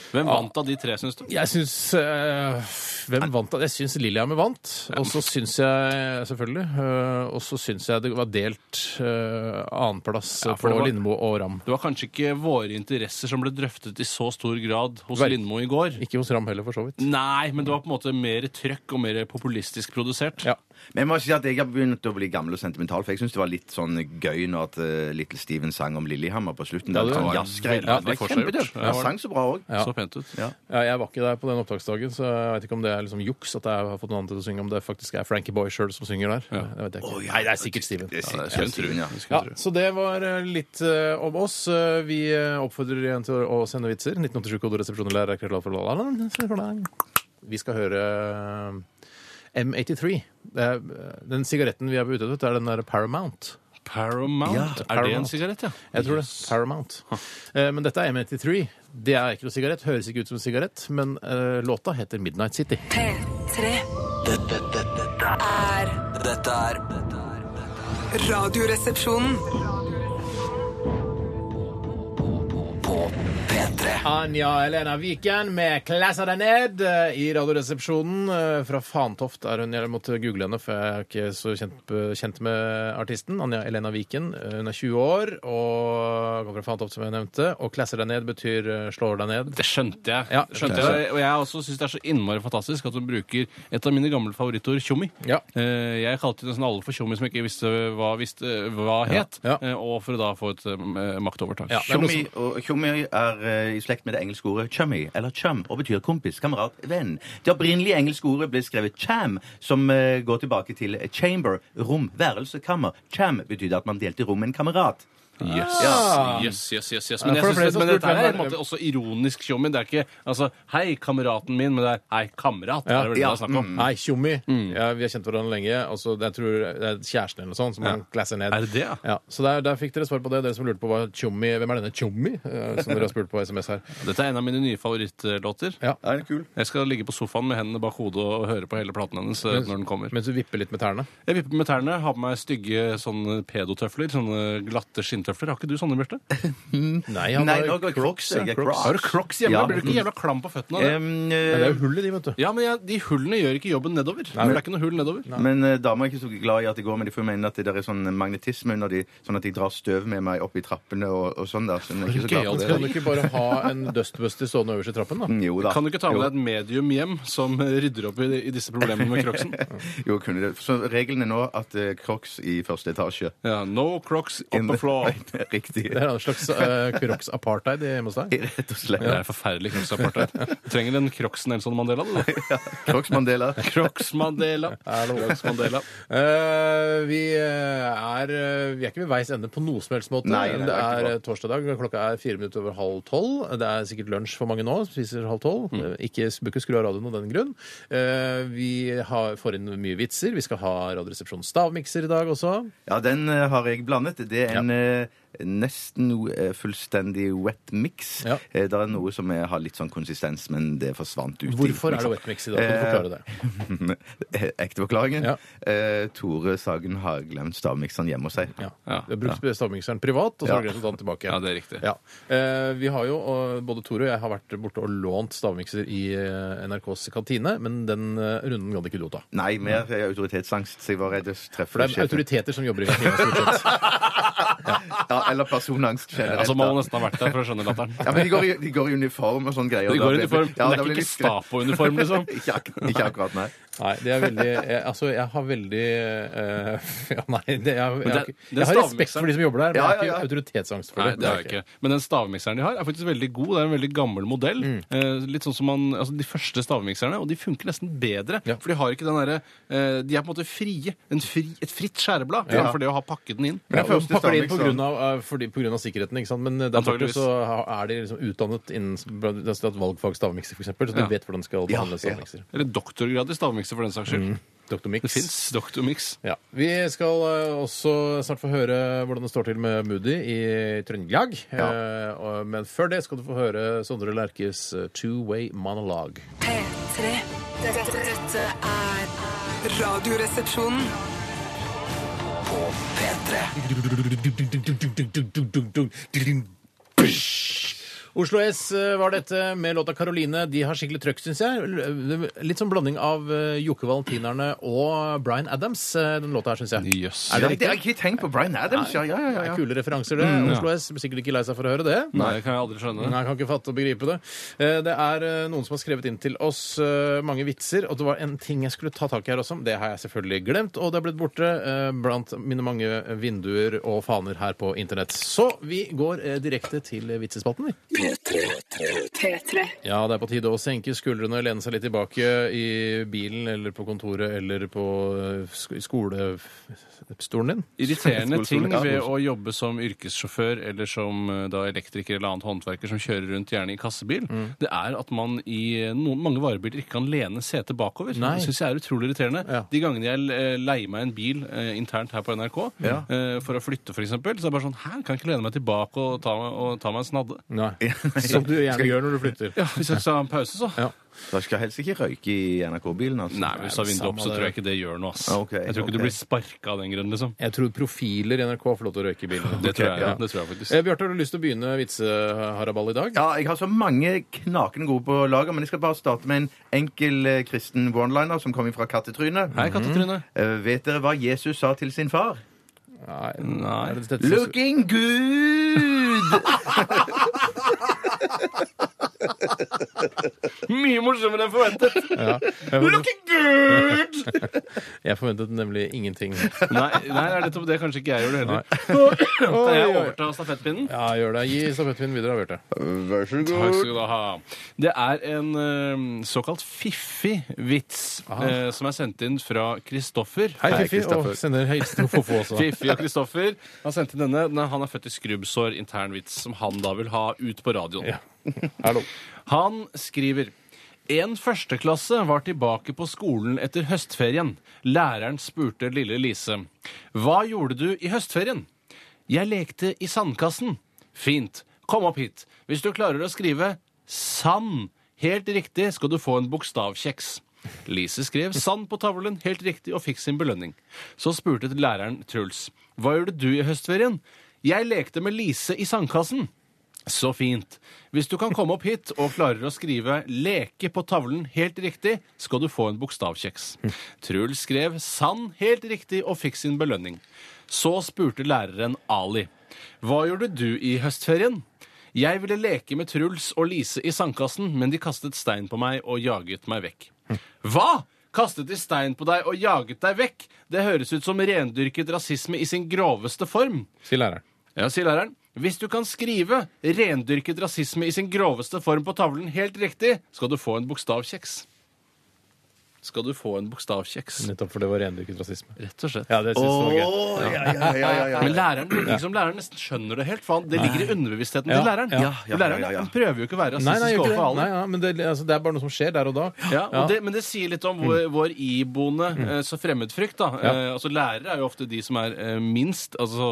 Speaker 4: Hvem vant av de tre, syns du?
Speaker 3: Jeg syns eh, Hvem vant da? Jeg syns Lillehammer vant. Og så syns jeg selvfølgelig eh, Og så syns jeg det var delt eh, annenplass
Speaker 4: Ja, for
Speaker 3: på
Speaker 4: det var-
Speaker 3: Lindmo og Ram.
Speaker 4: Det var kanskje ikke våre interesser som ble drøftet i så stor grad hos
Speaker 3: Vel.
Speaker 4: Lindmo i går.
Speaker 3: Ikke hos Ram heller, for så vidt.
Speaker 4: Nei, men det var på en måte mer trøkk og mer populistisk produsert.
Speaker 3: Ja.
Speaker 5: Men jeg må si at jeg har begynt å bli gammel og sentimental, for jeg syns det var litt sånn gøy når at eh, Little Steven sang om Lillehammer på slutten.
Speaker 3: Ja,
Speaker 5: det
Speaker 3: det
Speaker 5: var
Speaker 3: var
Speaker 5: sånn
Speaker 4: veldig
Speaker 5: jazzgreier. Det var
Speaker 4: forseggjort.
Speaker 5: kjempetøft.
Speaker 4: Ja,
Speaker 5: Han
Speaker 4: var
Speaker 5: sang så bra òg.
Speaker 3: Ja.
Speaker 4: Så pent ut.
Speaker 5: Ja.
Speaker 3: Ja, jeg var ikke der på den opptaksdagen, så jeg vet ikke om det er liksom juks at jeg har fått noen andre til å synge, om det faktisk er Frankie Boy sjøl som synger der. Det vet jeg ikke. Nei, det er sikkert Steven.
Speaker 5: Det
Speaker 4: Ja, det
Speaker 5: sier
Speaker 4: skulle en tro.
Speaker 5: Steven, ja.
Speaker 4: Det skulle
Speaker 3: Ja,
Speaker 4: en tro.
Speaker 3: så det var eh, litt eh, om oss. Eh, Vi eh, oppfordrer igjen til å å sende vitser. 1987-koderesepsjonen lærer klart for lalaland. Vi skal høre eh, M83. Det er, eh, den sigaretten vi er ute etter, er den der Paramount.
Speaker 4: Paramount?
Speaker 3: Ja,
Speaker 4: Er det en
Speaker 3: Paramount.
Speaker 4: sigarett, ja?
Speaker 3: Jeg tror det. Paramount. Eh, Men dette er M83. Det er ikke noe sigarett. Høres ikke ut som en sigarett, men eh, låta heter Midnight City.
Speaker 1: P3
Speaker 2: Dette, dette, dette,
Speaker 1: er
Speaker 2: er- dette er dette er-
Speaker 1: Radioresepsjonen.
Speaker 2: på P3.
Speaker 3: Anja Elena Viken med 'Klassa deg ned' eh, i Radioresepsjonen. eh, Fra Fantoft er hun. Jeg måtte google henne, for jeg er ikke så kjent, kjent med artisten. Anja Elena Viken. eh, Hun er 20 år og kommer fra Fantoft, som jeg nevnte. Og 'klasser deg ned' betyr eh, 'slår deg ned'.
Speaker 4: Det skjønte jeg.
Speaker 3: Ja,
Speaker 4: Det skjønte
Speaker 3: det er
Speaker 4: jeg. Og jeg også syns det er så innmari fantastisk at hun bruker et av mine gamle favorittord, tjommi.
Speaker 3: Ja.
Speaker 4: Eh, Jeg kalte nesten alle for tjommi som jeg ikke visste hva, visste, hva het,
Speaker 3: Ja.
Speaker 4: eh, og for å da få et eh, maktovertak.
Speaker 3: Ja, det er noe
Speaker 5: Tjommi og- tjommi er eh, i slekt med det engelske ordet chummy, eller chum, og betyr kompis, kamerat, venn. Det opprinnelige engelske ordet ble skrevet cham, som eh, går tilbake til chamber, rom, værelse, kammer. Cham betydde at man delte rom med en kamerat.
Speaker 4: Yes.
Speaker 3: Ah.
Speaker 4: yes, yes, yes, yes.
Speaker 3: Ja,
Speaker 4: Men, jeg
Speaker 3: for
Speaker 4: synes,
Speaker 3: det er flere
Speaker 4: men
Speaker 3: som
Speaker 4: dette
Speaker 3: spurte
Speaker 4: er
Speaker 3: hvem
Speaker 4: på
Speaker 3: er-
Speaker 4: en måte også ironisk tjommi. Det er ikke altså, 'hei, kameraten min', men det er 'hei, kamerat'. Det
Speaker 3: Ja.
Speaker 4: er vel det det er snakk om.
Speaker 3: Mm. Nei, tjommi. Ja, vi har kjent hverandre lenge. Altså, jeg tror det er kjæresten eller noe sånt som han klasser ned.
Speaker 4: Er det det, ja?
Speaker 3: Ja, så der, der fikk dere svar på det, dere som lurte på hva tjommi Hvem er denne tjommi, eh, som dere har spurt på SMS her?
Speaker 4: Dette er en av mine nye favorittlåter.
Speaker 3: Mm. Ja.
Speaker 5: Er det kul?
Speaker 4: Jeg skal ligge på sofaen med hendene bak hodet og høre på hele platen hennes eh, når den kommer.
Speaker 3: Mens du vipper litt med tærne.
Speaker 4: Jeg vipper med tærne, har på meg stygge sånne pedotøfler. Sånne glatte skinntøfler. Har ikke du sånne, Bjarte?
Speaker 3: Nei,
Speaker 5: Nei, nå går jeg crocs. Jeg er crocs.
Speaker 4: Har du crocs hjemme?
Speaker 5: Ja.
Speaker 4: Blir du ikke jævla klam på føttene? av det?
Speaker 5: Em,
Speaker 3: Men det er
Speaker 5: eh,
Speaker 3: jo hull i de, vet du.
Speaker 4: Ja, men jeg, De hullene gjør ikke jobben nedover. For det er ikke noe hull nedover.
Speaker 5: men eh, damer er ikke så glad i at det går, men de får mene at det der er sånn magnetisme under de, sånn at de drar støv med meg opp i trappene og, og sånn der. Så de er ikke så glad
Speaker 4: Gøyalt.
Speaker 5: for
Speaker 3: Kan du
Speaker 5: det.
Speaker 3: ikke bare ha en dustbuster stående øverst i trappen, da?
Speaker 5: Mm, Jo da.
Speaker 4: Kan du ikke ta med
Speaker 5: Jo.
Speaker 4: deg et medium hjem som rydder opp i, i disse problemene med
Speaker 5: [LAUGHS]
Speaker 4: crocsen?
Speaker 5: Jo, kunne det. Så regelen er nå at eh, crocs i første etasje.
Speaker 4: Ja, no crocs on
Speaker 5: In-
Speaker 4: the
Speaker 5: [LAUGHS]
Speaker 4: floor.
Speaker 5: Riktig.
Speaker 3: Det er en slags uh, Crocs-apartheid hjemme hos deg.
Speaker 5: Rett og slett.
Speaker 4: Det er forferdelig crocsapartheid. Du trenger en crocs Nelson Mandela,
Speaker 5: [LAUGHS]
Speaker 4: du.
Speaker 5: Crocs Mandela.
Speaker 3: [LAUGHS]
Speaker 4: Crocs Mandela.
Speaker 3: Er det
Speaker 4: Crocs Mandela.
Speaker 3: Eh, vi, eh, er, eh, vi er ikke ved veis ende på noe som helst måte.
Speaker 5: Nei, nei,
Speaker 3: det
Speaker 5: det er ikke
Speaker 3: er
Speaker 5: bra.
Speaker 3: eh, torsdag i dag, klokka er fire minutter over halv tolv. Det er sikkert lunsj for mange nå, spiser halv tolv. Mm. Ikke bør ikke skru av radioen av den grunn. Eh, vi har, får inn mye vitser. Vi skal ha Radioresepsjonens stavmikser i dag også.
Speaker 5: Ja, den eh, har jeg blandet. Det er en eh, nesten eh, fullstendig wet mix.
Speaker 3: Ja.
Speaker 5: Eh, Det er noe som eh, har litt sånn konsistens, men det forsvant ut. i
Speaker 3: Hvorfor er det
Speaker 5: miksen.
Speaker 3: wetmix i dag? Kan du forklare det?
Speaker 5: Eh, [LAUGHS] Ekte forklaringen.
Speaker 3: Ja.
Speaker 5: Eh, Tore Sagen har glemt stavmikseren hjemme hos seg.
Speaker 3: Eh, Ja.
Speaker 4: Ja.
Speaker 3: Du har brukt stavmikseren privat, og så har du glemt å ta den tilbake.
Speaker 4: Ja, det er riktig.
Speaker 3: Ja. Eh, vi har jo, og både Tore og jeg har vært borte og lånt stavmikser i eh, NRKs kantine, men den eh, runden gadd ikke du å ta.
Speaker 5: Nei, mer eh, autoritetsangst, så jeg var redd jeg
Speaker 3: For
Speaker 5: treffer
Speaker 3: det er
Speaker 5: sjefen.
Speaker 3: autoriteter som jobber i kantina. [LAUGHS] stort sett.
Speaker 5: [LAUGHS] Ja, eller personangst generelt.
Speaker 4: Altså, Man må
Speaker 5: da.
Speaker 4: nesten ha vært der for å skjønne
Speaker 5: ja,
Speaker 4: latteren.
Speaker 5: men de går, i, de går i uniform og sånne greier.
Speaker 4: De
Speaker 5: og da
Speaker 4: går i
Speaker 5: blir-
Speaker 4: uniform,
Speaker 5: Ja,
Speaker 4: men det
Speaker 5: da
Speaker 4: er
Speaker 5: blir
Speaker 4: ikke
Speaker 5: litt skremt.
Speaker 4: Gestapo-uniform,
Speaker 5: [LAUGHS]
Speaker 4: liksom.
Speaker 5: ikke, ak ikke akkurat,
Speaker 4: [LAUGHS]
Speaker 5: nei.
Speaker 3: Nei, det er veldig jeg, Altså, jeg har veldig eh, [LAUGHS] Ja, nei, det, jeg, jeg, har
Speaker 4: det-
Speaker 3: ikke-
Speaker 4: det
Speaker 3: jeg har respekt
Speaker 4: stavmikseren-
Speaker 3: for de som jobber der, men jeg
Speaker 5: Ja,
Speaker 3: har
Speaker 5: ja,
Speaker 3: ikke
Speaker 5: ja.
Speaker 3: autoritetsangst for
Speaker 4: Nei,
Speaker 3: det.
Speaker 4: det er jeg ikke. Men den stavmikseren de har, er faktisk veldig god. Det er en veldig gammel modell. Eh, litt sånn som man, altså De første stavmikserne, og de funker nesten bedre.
Speaker 3: Ja.
Speaker 4: For de har ikke den derre eh, De er på en måte frie. En fri, et fritt skjæreblad
Speaker 5: Ja.
Speaker 4: framfor det å ha pakket den inn.
Speaker 3: Ja,
Speaker 5: Den
Speaker 3: og
Speaker 5: første
Speaker 3: pakker det inn på
Speaker 5: stavmikseren-
Speaker 3: grunn av, eh, fordi- på grunn av sikkerheten, ikke sant? men eh, der borte
Speaker 4: Antageligvis.
Speaker 3: så ha- er de liksom utdannet innen blant- det står at valgfag stavmikser, f.eks., så de
Speaker 4: Ja.
Speaker 3: vet hvordan de skal
Speaker 5: Ja,
Speaker 3: behandle
Speaker 5: ja.
Speaker 3: stavmikser.
Speaker 4: Eller doktorgrad i stavmikser, for den saks skyld.
Speaker 3: Mm. Dr. Mix.
Speaker 4: Det fins doktormiks.
Speaker 3: Ja. Vi skal eh, også snart få høre hvordan det står til med Moody i Trøndelag. Eh, og- Men før det skal du få høre Sondre Lerches eh, two-way monologue.
Speaker 1: P3. Dette, dette er Radioresepsjonen.
Speaker 3: Og Oslo S eh, var dette med låta 'Caroline'. De har skikkelig trøkk, syns jeg. L- Litt sånn blanding av eh, Jokke Valentinerne og Bryan Adams, eh, den låta her, syns jeg.
Speaker 4: Jøss.
Speaker 3: Er
Speaker 6: Ja,
Speaker 3: det
Speaker 6: det
Speaker 3: riktig?
Speaker 6: har jeg ikke tenkt på. Bryan Adams, ja. ja, ja,
Speaker 3: Det
Speaker 6: Mm, ja.
Speaker 3: er kule referanser, det. Oslo S blir sikkert ikke lei seg for å høre det.
Speaker 4: Nei, det kan jeg aldri skjønne.
Speaker 3: Nei, jeg kan ikke fatte og begripe det. Eh, Det er eh, noen som har skrevet inn til oss eh, mange vitser, og det var en ting jeg skulle ta tak i her også. Det har jeg selvfølgelig glemt, og det er blitt borte eh, blant mine mange vinduer og faner her på internett. Så vi går eh, direkte til vitsespalten, vi.
Speaker 7: P3.
Speaker 3: Ja, det er på tide å senke skuldrene, lene seg litt tilbake i bilen eller på kontoret eller på eh, sk- i skolestolen din.
Speaker 4: Irriterende ting
Speaker 6: ja.
Speaker 4: ved å jobbe som yrkessjåfør eller som eh, da elektriker eller annet håndverker som kjører rundt gjerne i kassebil, det er at man i noen, mange varebiler ikke kan lene setet bakover.
Speaker 3: Nei.
Speaker 4: Det syns jeg er utrolig irriterende.
Speaker 3: Ja.
Speaker 4: De gangene jeg eh, leier meg en bil eh, internt her på NRK eh, for å flytte, f.eks., så er det bare sånn Hæ, kan jeg ikke lene meg tilbake og ta, og ta meg en snadde?
Speaker 3: Nei. [LAUGHS] Som du gjerne gjør når du flytter.
Speaker 4: Ja, Hvis jeg skal ha en pause, så.
Speaker 3: Ja.
Speaker 6: Da skal jeg helst ikke røyke i NRK-bilen, altså.
Speaker 4: Nei, men hvis du har vinduet
Speaker 3: samme
Speaker 4: opp, så
Speaker 3: det.
Speaker 4: tror jeg ikke det gjør noe. ass.
Speaker 6: Ja, ok,
Speaker 4: jeg tror ikke
Speaker 6: ok.
Speaker 4: du blir sparka av den grunn, liksom.
Speaker 3: Jeg tror profiler i NRK får lov til å røyke i bilen.
Speaker 4: Det tror jeg,
Speaker 3: Ja.
Speaker 4: det tror jeg faktisk.
Speaker 3: Eh, Bjarte, har du lyst til å begynne vitseharaball i dag?
Speaker 6: Ja, jeg har så mange knakende gode på lager, men jeg skal bare starte med en enkel eh, kristen one-liner som kommer fra Kattetryne.
Speaker 4: Hei, Katte-Trine.
Speaker 6: Eh, Vet dere hva Jesus sa til sin far?
Speaker 3: Nei.
Speaker 4: Nei.
Speaker 3: Er det dette som-
Speaker 6: Looking good!
Speaker 4: Mye morsommere enn forventet!
Speaker 3: Ja. Jeg forventet-
Speaker 4: good!
Speaker 3: Jeg forventet nemlig
Speaker 4: [LAUGHS]
Speaker 3: ingenting.
Speaker 4: nei, nei, det er nettopp det kanskje ikke jeg gjorde heller. Kan
Speaker 3: Oi,
Speaker 4: jeg
Speaker 3: oi.
Speaker 4: overta stafettpinnen?
Speaker 3: Ja, gjør det. Gi stafettpinnen videre, da, Bjarte.
Speaker 6: Vær så
Speaker 4: Takk skal du ha. Det er en eh, såkalt fiffig vits eh, som er sendt inn fra Kristoffer.
Speaker 3: Hei, Fiffi.
Speaker 6: Kristoffer.
Speaker 3: Og sender hilsen til Fofo også.
Speaker 4: Fiffi og Kristoffer har sendt inn denne. Den er- Han er født i skrubbsår, internvits, som han da vil ha ut på radioen.
Speaker 3: Ja. Hallo.
Speaker 4: Han skriver en førsteklasse var tilbake på skolen etter høstferien. Læreren spurte lille Lise. Hva gjorde du i høstferien? Jeg lekte i sandkassen. Fint. Kom opp hit. Hvis du klarer å skrive sand helt riktig, skal du få en bokstavkjeks. Lise skrev sand på tavlen helt riktig og fikk sin belønning. Så spurte læreren Truls. Hva gjorde du i høstferien? Jeg lekte med Lise i sandkassen. Så fint. Hvis du kan komme opp hit og klarer å skrive 'leke' på tavlen helt riktig, skal du få en bokstavkjeks. Truls skrev 'sand' helt riktig og fikk sin belønning. Så spurte læreren Ali. Hva gjorde du i høstferien? Jeg ville leke med Truls og Lise i sandkassen, men de kastet stein på meg og jaget meg vekk. Hva? Kastet de stein på deg og jaget deg vekk? Det høres ut som rendyrket rasisme i sin groveste form.
Speaker 3: Si læreren.
Speaker 4: Ja, sier læreren. Hvis du kan skrive 'rendyrket rasisme i sin groveste form' på tavlen helt riktig, skal du få en bokstavkjeks. Skal du få en bokstavkjeks.
Speaker 3: Nettopp for det var rendyrket rasisme.
Speaker 4: Rett og slett.
Speaker 3: Ja, det synes jeg var gøy.
Speaker 6: [LAUGHS] Åh, Sånn, ja, ja, ja, ja, ja.
Speaker 4: Men læreren virker som læreren nesten skjønner det helt. Faen. Det ligger i underbevisstheten
Speaker 3: Ja,
Speaker 4: til læreren.
Speaker 3: ja, ja,
Speaker 6: ja,
Speaker 4: læreren
Speaker 6: ja, ja.
Speaker 4: han prøver jo ikke å være
Speaker 3: Nei, nei,
Speaker 4: rasistisk
Speaker 3: gjør ikke
Speaker 4: overfor
Speaker 3: det.
Speaker 4: alle.
Speaker 3: nei ja, men det, altså, det er bare noe som skjer der og da.
Speaker 4: Ja, og Det, men det sier litt om
Speaker 3: Mm.
Speaker 4: vår, vår iboende eh, så fremmedfrykt. da. Eh, altså Lærere er jo ofte de som er eh, minst altså,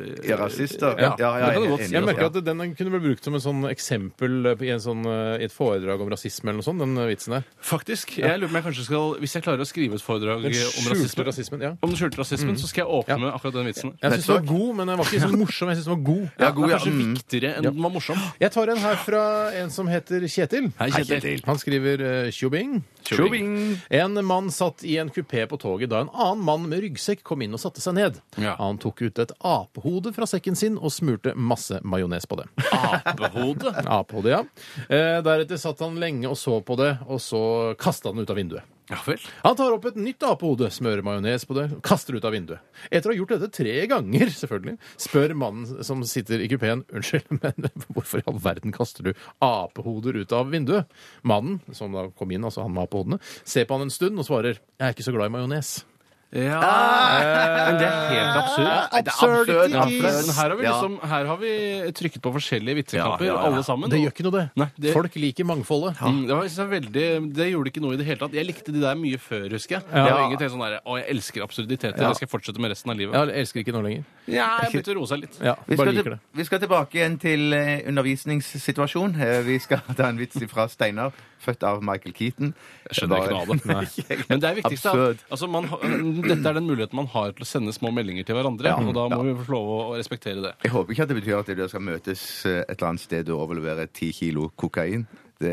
Speaker 4: eh,
Speaker 6: Ja, rasister.
Speaker 4: Ja,
Speaker 6: Ja, ja,
Speaker 4: det
Speaker 6: jeg
Speaker 4: kan du
Speaker 6: er
Speaker 4: godt si.
Speaker 6: enig.
Speaker 3: Jeg merker at den kunne blitt brukt som en sånn eksempel i, en sånn, eh, i et foredrag om rasisme eller noe sånt, den eh, vitsen der.
Speaker 4: eh, Faktisk. Jeg lurer på om jeg kanskje skal, Hvis jeg klarer å skrive et foredrag om
Speaker 3: Den skjulte
Speaker 4: rasisme
Speaker 3: rasismen. Ja.
Speaker 4: Om den skjulte rasismen, så skal jeg åpne
Speaker 3: Ja.
Speaker 4: med akkurat den vitsen.
Speaker 3: Jeg syns den var
Speaker 6: Nettopp.
Speaker 3: god, men den var ikke så morsom. Jeg synes den var god.
Speaker 6: Ja, god,
Speaker 4: Den
Speaker 6: ja.
Speaker 4: er kanskje
Speaker 6: Mm.
Speaker 4: viktigere enn den var morsom.
Speaker 3: Jeg tar en her fra en som heter Kjetil.
Speaker 4: Hei, Kjetil.
Speaker 3: Han skriver eh, tjobing.
Speaker 6: Tjobing.
Speaker 3: En mann satt i en kupé på toget da en annen mann med ryggsekk kom inn og satte seg ned.
Speaker 4: Ja.
Speaker 3: Han tok ut et apehode fra sekken sin og smurte masse majones på det.
Speaker 4: Apehode.
Speaker 3: [LAUGHS] Apehode, ja. Eh, deretter satt han lenge og så på det, og så kasta han det ut av vinduet.
Speaker 4: Ja vel.
Speaker 3: Han tar opp et nytt apehode, smører majones på det, og kaster det ut av vinduet. Etter å ha gjort dette tre ganger, selvfølgelig, spør mannen som sitter i kupeen unnskyld, [LAUGHS] men hvorfor i all verden kaster du apehoder ut av vinduet? Mannen, som da kom inn, altså han med apehodene, ser på han en stund og svarer jeg er ikke så glad i majones.
Speaker 4: Ja. Men det er helt absurd.
Speaker 6: Nei, det er absurd.
Speaker 4: Ja, for det-
Speaker 3: is.
Speaker 4: men her har, vi
Speaker 6: Ja.
Speaker 4: liksom, her har vi trykket på forskjellige vitseknapper,
Speaker 6: Ja, ja, ja.
Speaker 4: alle sammen.
Speaker 3: Det gjør ikke noe, det.
Speaker 4: Nei, det-
Speaker 3: Folk liker mangfoldet.
Speaker 4: Mm, det, var, jeg synes det er veldig, det gjorde ikke noe i det hele tatt. Jeg likte de der mye før, husker jeg. Jeg, var egentlig helt sånn der, å, jeg elsker absurditeter. Det skal jeg fortsette med resten av livet.
Speaker 3: Jeg elsker ikke nå lenger.
Speaker 4: Ja, jeg begynte å roe seg litt.
Speaker 3: Ja,
Speaker 6: Vi
Speaker 3: bare
Speaker 6: skal,
Speaker 3: liker
Speaker 6: til,
Speaker 3: det.
Speaker 6: vi skal tilbake igjen til eh, undervisningssituasjon. Eh, vi skal [LAUGHS] ta en vits fra Steinar, født av Michael Keaton. [LAUGHS]
Speaker 4: Jeg skjønner ikke noe av det. Men det er viktigste
Speaker 6: Absurd.
Speaker 4: at altså, man, har- den dette er den muligheten man har til å sende små meldinger til hverandre. Og da må vi få lov å å respektere det.
Speaker 5: Jeg håper ikke at det betyr at dere skal møtes eh, et eller annet sted og overlevere ti kilo kokain. Det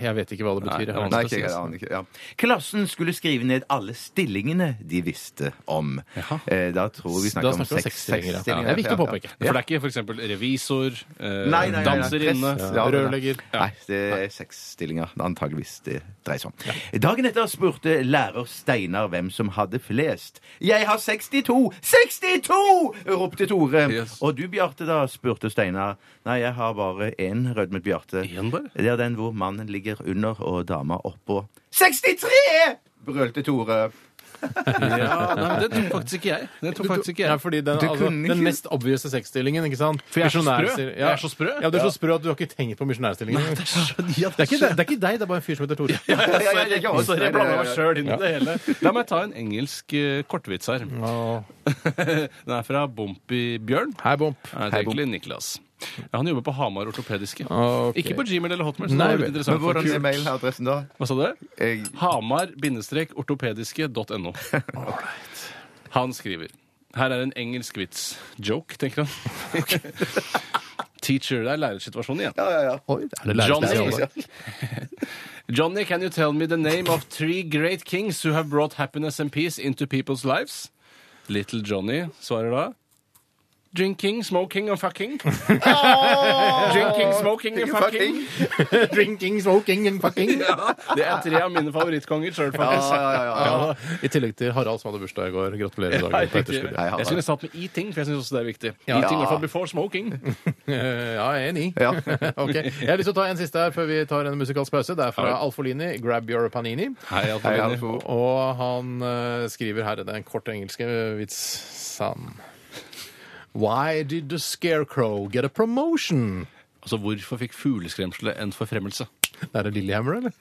Speaker 3: Jeg vet ikke hva det betyr. jeg har
Speaker 5: Nei,
Speaker 3: lyst
Speaker 5: ikke,
Speaker 3: til å
Speaker 5: jeg
Speaker 3: si.
Speaker 5: aner ikke. Ja. Klassen skulle skrive ned alle stillingene de visste om. Eh, da tror vi
Speaker 3: Da
Speaker 5: snakker om
Speaker 3: snakker vi om
Speaker 5: seks
Speaker 3: seksstillinger. Ja.
Speaker 5: seks
Speaker 3: Det er viktig å
Speaker 5: ja.
Speaker 3: påpeke.
Speaker 4: For det er ikke f.eks. revisor, eh,
Speaker 5: Nei, nei, nei, nei.
Speaker 4: danserinne
Speaker 5: Press,
Speaker 4: ja.
Speaker 5: ja.
Speaker 3: Rørlegger.
Speaker 5: Nei, det er seks stillinger det er antageligvis det dreier seg om.
Speaker 6: Dagen etter spurte lærer Steinar hvem som hadde flest. 'Jeg har 62! 62!' ropte Tore.
Speaker 4: Yes.
Speaker 6: Og du, Bjarte, da? spurte Steinar. 'Nei, jeg har bare én', rødmet Bjarte.
Speaker 4: Én bare?
Speaker 6: Det er den hvor mannen ligger under og dama oppå. 63! brølte Tore.
Speaker 4: nei, men Det tok faktisk ikke jeg. Det tok faktisk ikke
Speaker 3: Ja,
Speaker 4: jeg.
Speaker 3: fordi den, altså,
Speaker 5: kunne
Speaker 3: den
Speaker 5: ikke-
Speaker 3: mest obviouse sexstillingen, ikke sant? For
Speaker 4: jeg er så sprø. Jeg er så sprø.
Speaker 3: Ja, du er så sprø at du har ikke tenkt på misjonærstillingen. engang. Det, er ikke deg- det er ikke deg, det er bare en fyr som heter
Speaker 4: [LAUGHS]
Speaker 3: Tore.
Speaker 5: Ja, ja, ja, ja, ja.
Speaker 4: Eh, Sorry, jeg blander meg sjøl inn i det hele. La meg ta en engelsk eh, kortvits her.
Speaker 3: Åh.
Speaker 4: Den er fra Bompi Bjørn.
Speaker 3: Hei, Bomp.
Speaker 4: Nei, det er egentlig Niklas. Ja, han jobber på Hamar Ortopediske.
Speaker 3: Ok.
Speaker 4: Ikke på Gmail eller Hotmail. Så
Speaker 3: Nei,
Speaker 4: det var
Speaker 3: vel.
Speaker 4: litt
Speaker 5: Men
Speaker 4: interessant for
Speaker 5: hvordan er
Speaker 4: kult.
Speaker 5: mailadressen da?
Speaker 4: Hva sa du?
Speaker 5: Jeg,
Speaker 4: Hamar-ortopediske.no. Han skriver Her er en engelsk vits. Joke, tenker han. Teacher, det er lærersituasjonen igjen. Johnny, Johnny, can you tell me the name of three great kings who have brought happiness and peace into people's lives? Little Johnny svarer da Drinking, smoking and fucking. Drinking, smoking and fucking.
Speaker 3: Drinking, smoking and fucking.
Speaker 4: [LAUGHS] Ja, det er tre av mine favorittkonger sjøl, faktisk.
Speaker 3: Ja, I tillegg til Harald som hadde bursdag i går. Gratulerer i dag.
Speaker 4: Nei,
Speaker 3: på
Speaker 4: ikke-
Speaker 3: etterskuddet.
Speaker 5: Nei, han-
Speaker 4: jeg skulle satt med eating, for jeg syns også det er viktig. Eating i hvert fall before smoking.
Speaker 3: Eh, Ja, jeg er enig.
Speaker 5: Ja.
Speaker 3: [LAUGHS] Ok. Jeg har lyst til å ta en siste her før vi tar en musikalsk pause. Det er fra
Speaker 4: Ja.
Speaker 3: Alfolini, 'Grab Your Panini'.
Speaker 4: Hei, Alfa
Speaker 5: jeg
Speaker 4: Romeo.
Speaker 5: har to.
Speaker 3: Og han eh, skriver her Det er en kort engelsk eh, vits. Sann. Why did the scarecrow get a promotion?
Speaker 4: Altså, hvorfor fikk fugleskremselet en forfremmelse?
Speaker 3: Er det Lillehammer, eller?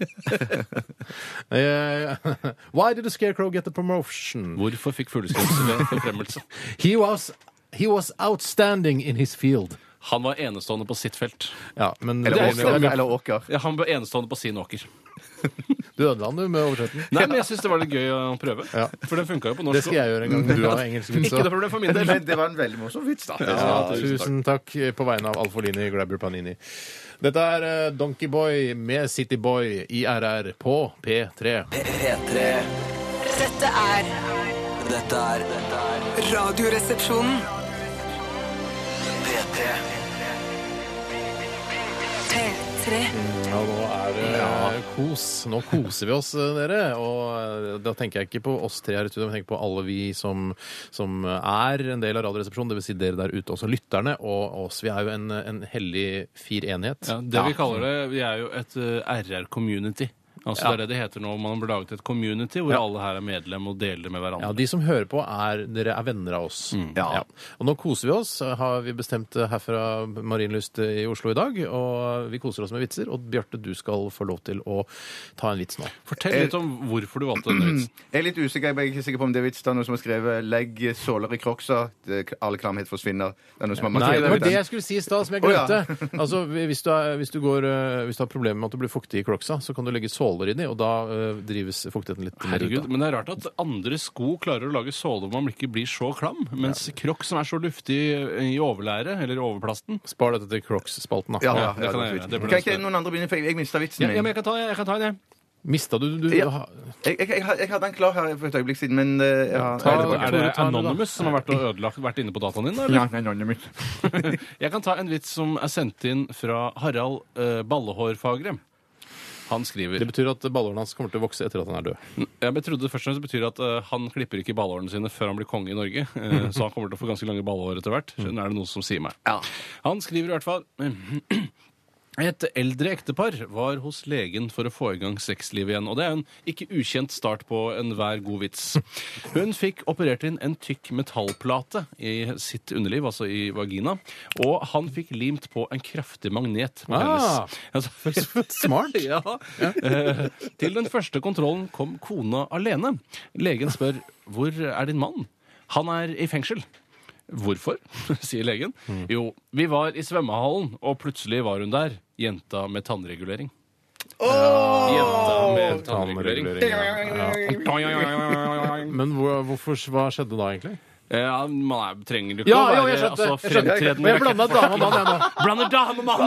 Speaker 3: [LAUGHS] Eh, Why did the scarecrow get a promotion?
Speaker 4: Hvorfor fikk fugleskremselet en forfremmelse?
Speaker 3: He was, he was outstanding in his field.
Speaker 4: Han var enestående på sitt felt.
Speaker 3: Ja, men du
Speaker 5: Eller åker. Eller åker.
Speaker 4: Ja, han var enestående på sin åker.
Speaker 3: ødela den, du, med oversetten.
Speaker 4: Nei, men jeg syns det var litt gøy å prøve.
Speaker 3: Ja.
Speaker 4: For den funka jo på norsk.
Speaker 3: Det skal jeg gjøre en
Speaker 4: [LAUGHS]
Speaker 3: gang. Du har engelsk vits
Speaker 4: Ikke
Speaker 3: også.
Speaker 4: noe problem for min del.
Speaker 5: Men det var en veldig morsom vits, da.
Speaker 3: Ja, tusen takk på vegne av Alfolini Grabber Panini. Dette er eh, Donkey Boy med City Boy i RR på P3.
Speaker 2: P3.
Speaker 1: Dette er
Speaker 2: Dette er dette er
Speaker 1: Radioresepsjonen.
Speaker 2: P3.
Speaker 1: P3.
Speaker 3: Ja, nå er det kos. Nå koser vi oss, eh, dere. Og eh, da tenker jeg ikke på oss tre her i studio, men jeg tenker på alle vi som, som er en del av Radioresepsjonen, dvs. Si dere der ute, også lytterne, og oss. Vi er jo en, en hellig firenhet.
Speaker 4: Ja, det vi kaller det, vi er jo et eh, RR-community. Altså Det er det det heter nå. Man har laget et community hvor alle her er medlem og deler med hverandre.
Speaker 3: Ja, De som hører på, er dere er venner av oss.
Speaker 5: Mm.
Speaker 3: Ja. Og nå koser vi oss, har vi bestemt herfra Marienlyst eh, i Oslo i dag. Og vi koser oss med vitser. Og Bjarte, du skal få lov til å ta en vits nå.
Speaker 4: Fortell litt om hvorfor du valgte denne vitsen.
Speaker 5: Jeg er litt usikker, jeg er ikke sikker på om det er vits. Det er noen som har skrevet 'legg såler i crocs', all klamhet forsvinner. Det er noen som har
Speaker 3: Nei,
Speaker 5: markert
Speaker 3: det var det
Speaker 5: den.
Speaker 3: jeg skulle si i stad, som jeg
Speaker 5: Å, ja.
Speaker 3: glemte. Altså, hvis du, er, hvis, du går, eh, hvis du har problemer med at du blir fuktig i crocsa, så kan du legge såler inni, og da eh, drives fuktigheten litt mer ut.
Speaker 4: Herregud,
Speaker 3: da.
Speaker 4: Men det er rart at andre sko klarer å lage såle hvor man ikke blir så klam, mens krokk som er så luftig eh, i overlæret, eller overplasten
Speaker 3: Spar dette til crocs-spalten, da.
Speaker 5: Ja, ja,
Speaker 4: det kan jeg gjøre.
Speaker 5: det er
Speaker 4: Det burde
Speaker 5: fint. Kan
Speaker 4: jeg
Speaker 5: ikke noen andre begynne, for jeg, jeg mista vitsen
Speaker 4: Ja, ja,
Speaker 5: min.
Speaker 4: men jeg kan ta, jeg kan ta en, jeg.
Speaker 3: Mista du, du, du
Speaker 5: Ja.
Speaker 3: ha-
Speaker 5: Jeg, jeg, jeg, jeg hadde den klar her for et øyeblikk siden, men eh, ja,
Speaker 3: Ta-
Speaker 5: er det
Speaker 3: Tore,
Speaker 4: Er
Speaker 5: bare-
Speaker 4: det
Speaker 3: ta den, da.
Speaker 4: Anonymous som har vært, og ødelagt, vært inne på dataen din? da, Eller?
Speaker 5: Ja, nei, anonymous.
Speaker 4: Jeg kan ta en vits som er sendt inn fra Harald eh, Ballehårfagre. Han skriver
Speaker 3: Det betyr at ballhårene hans kommer til å vokse etter at han er død.
Speaker 4: Ja, men Jeg trodde det først og fremst betyr at eh, han klipper ikke ballhårene sine før han blir konge i Norge. eh, så han kommer til å få ganske lange ballhår etter hvert. Nå er det noe som sier meg. Han skriver i hvert fall [CLEARS THROAT] et eldre ektepar var hos legen for å få i gang sexlivet igjen. Og det er en ikke ukjent start på enhver god vits. Hun fikk operert inn en tykk metallplate i sitt underliv, altså i vagina, og han fikk limt på en kraftig magnet på
Speaker 3: Ah.
Speaker 4: hennes. [LAUGHS] Altså,
Speaker 3: [LAUGHS] Smart.
Speaker 4: ja. Eh, til den første kontrollen kom kona alene. Legen spør hvor er din mann? Han er i fengsel. Hvorfor? [LAUGHS] sier legen. Jo, vi var i svømmehallen, og plutselig var hun der. Jenta med tannregulering. Jenta med
Speaker 3: Tannregulering.
Speaker 4: tannregulering.
Speaker 3: Ja. Men hvor, hvorfor, hva skjedde da, egentlig?
Speaker 4: Eh, Ja, man er, trenger jo ikke
Speaker 3: Ja,
Speaker 4: å
Speaker 3: jo, jeg
Speaker 4: være
Speaker 3: skjønte!
Speaker 4: altså,
Speaker 3: Jeg, skjønte. Men
Speaker 4: fremtredende
Speaker 3: jeg blanda dame og mann, jeg nå.
Speaker 4: Blander dame, mann!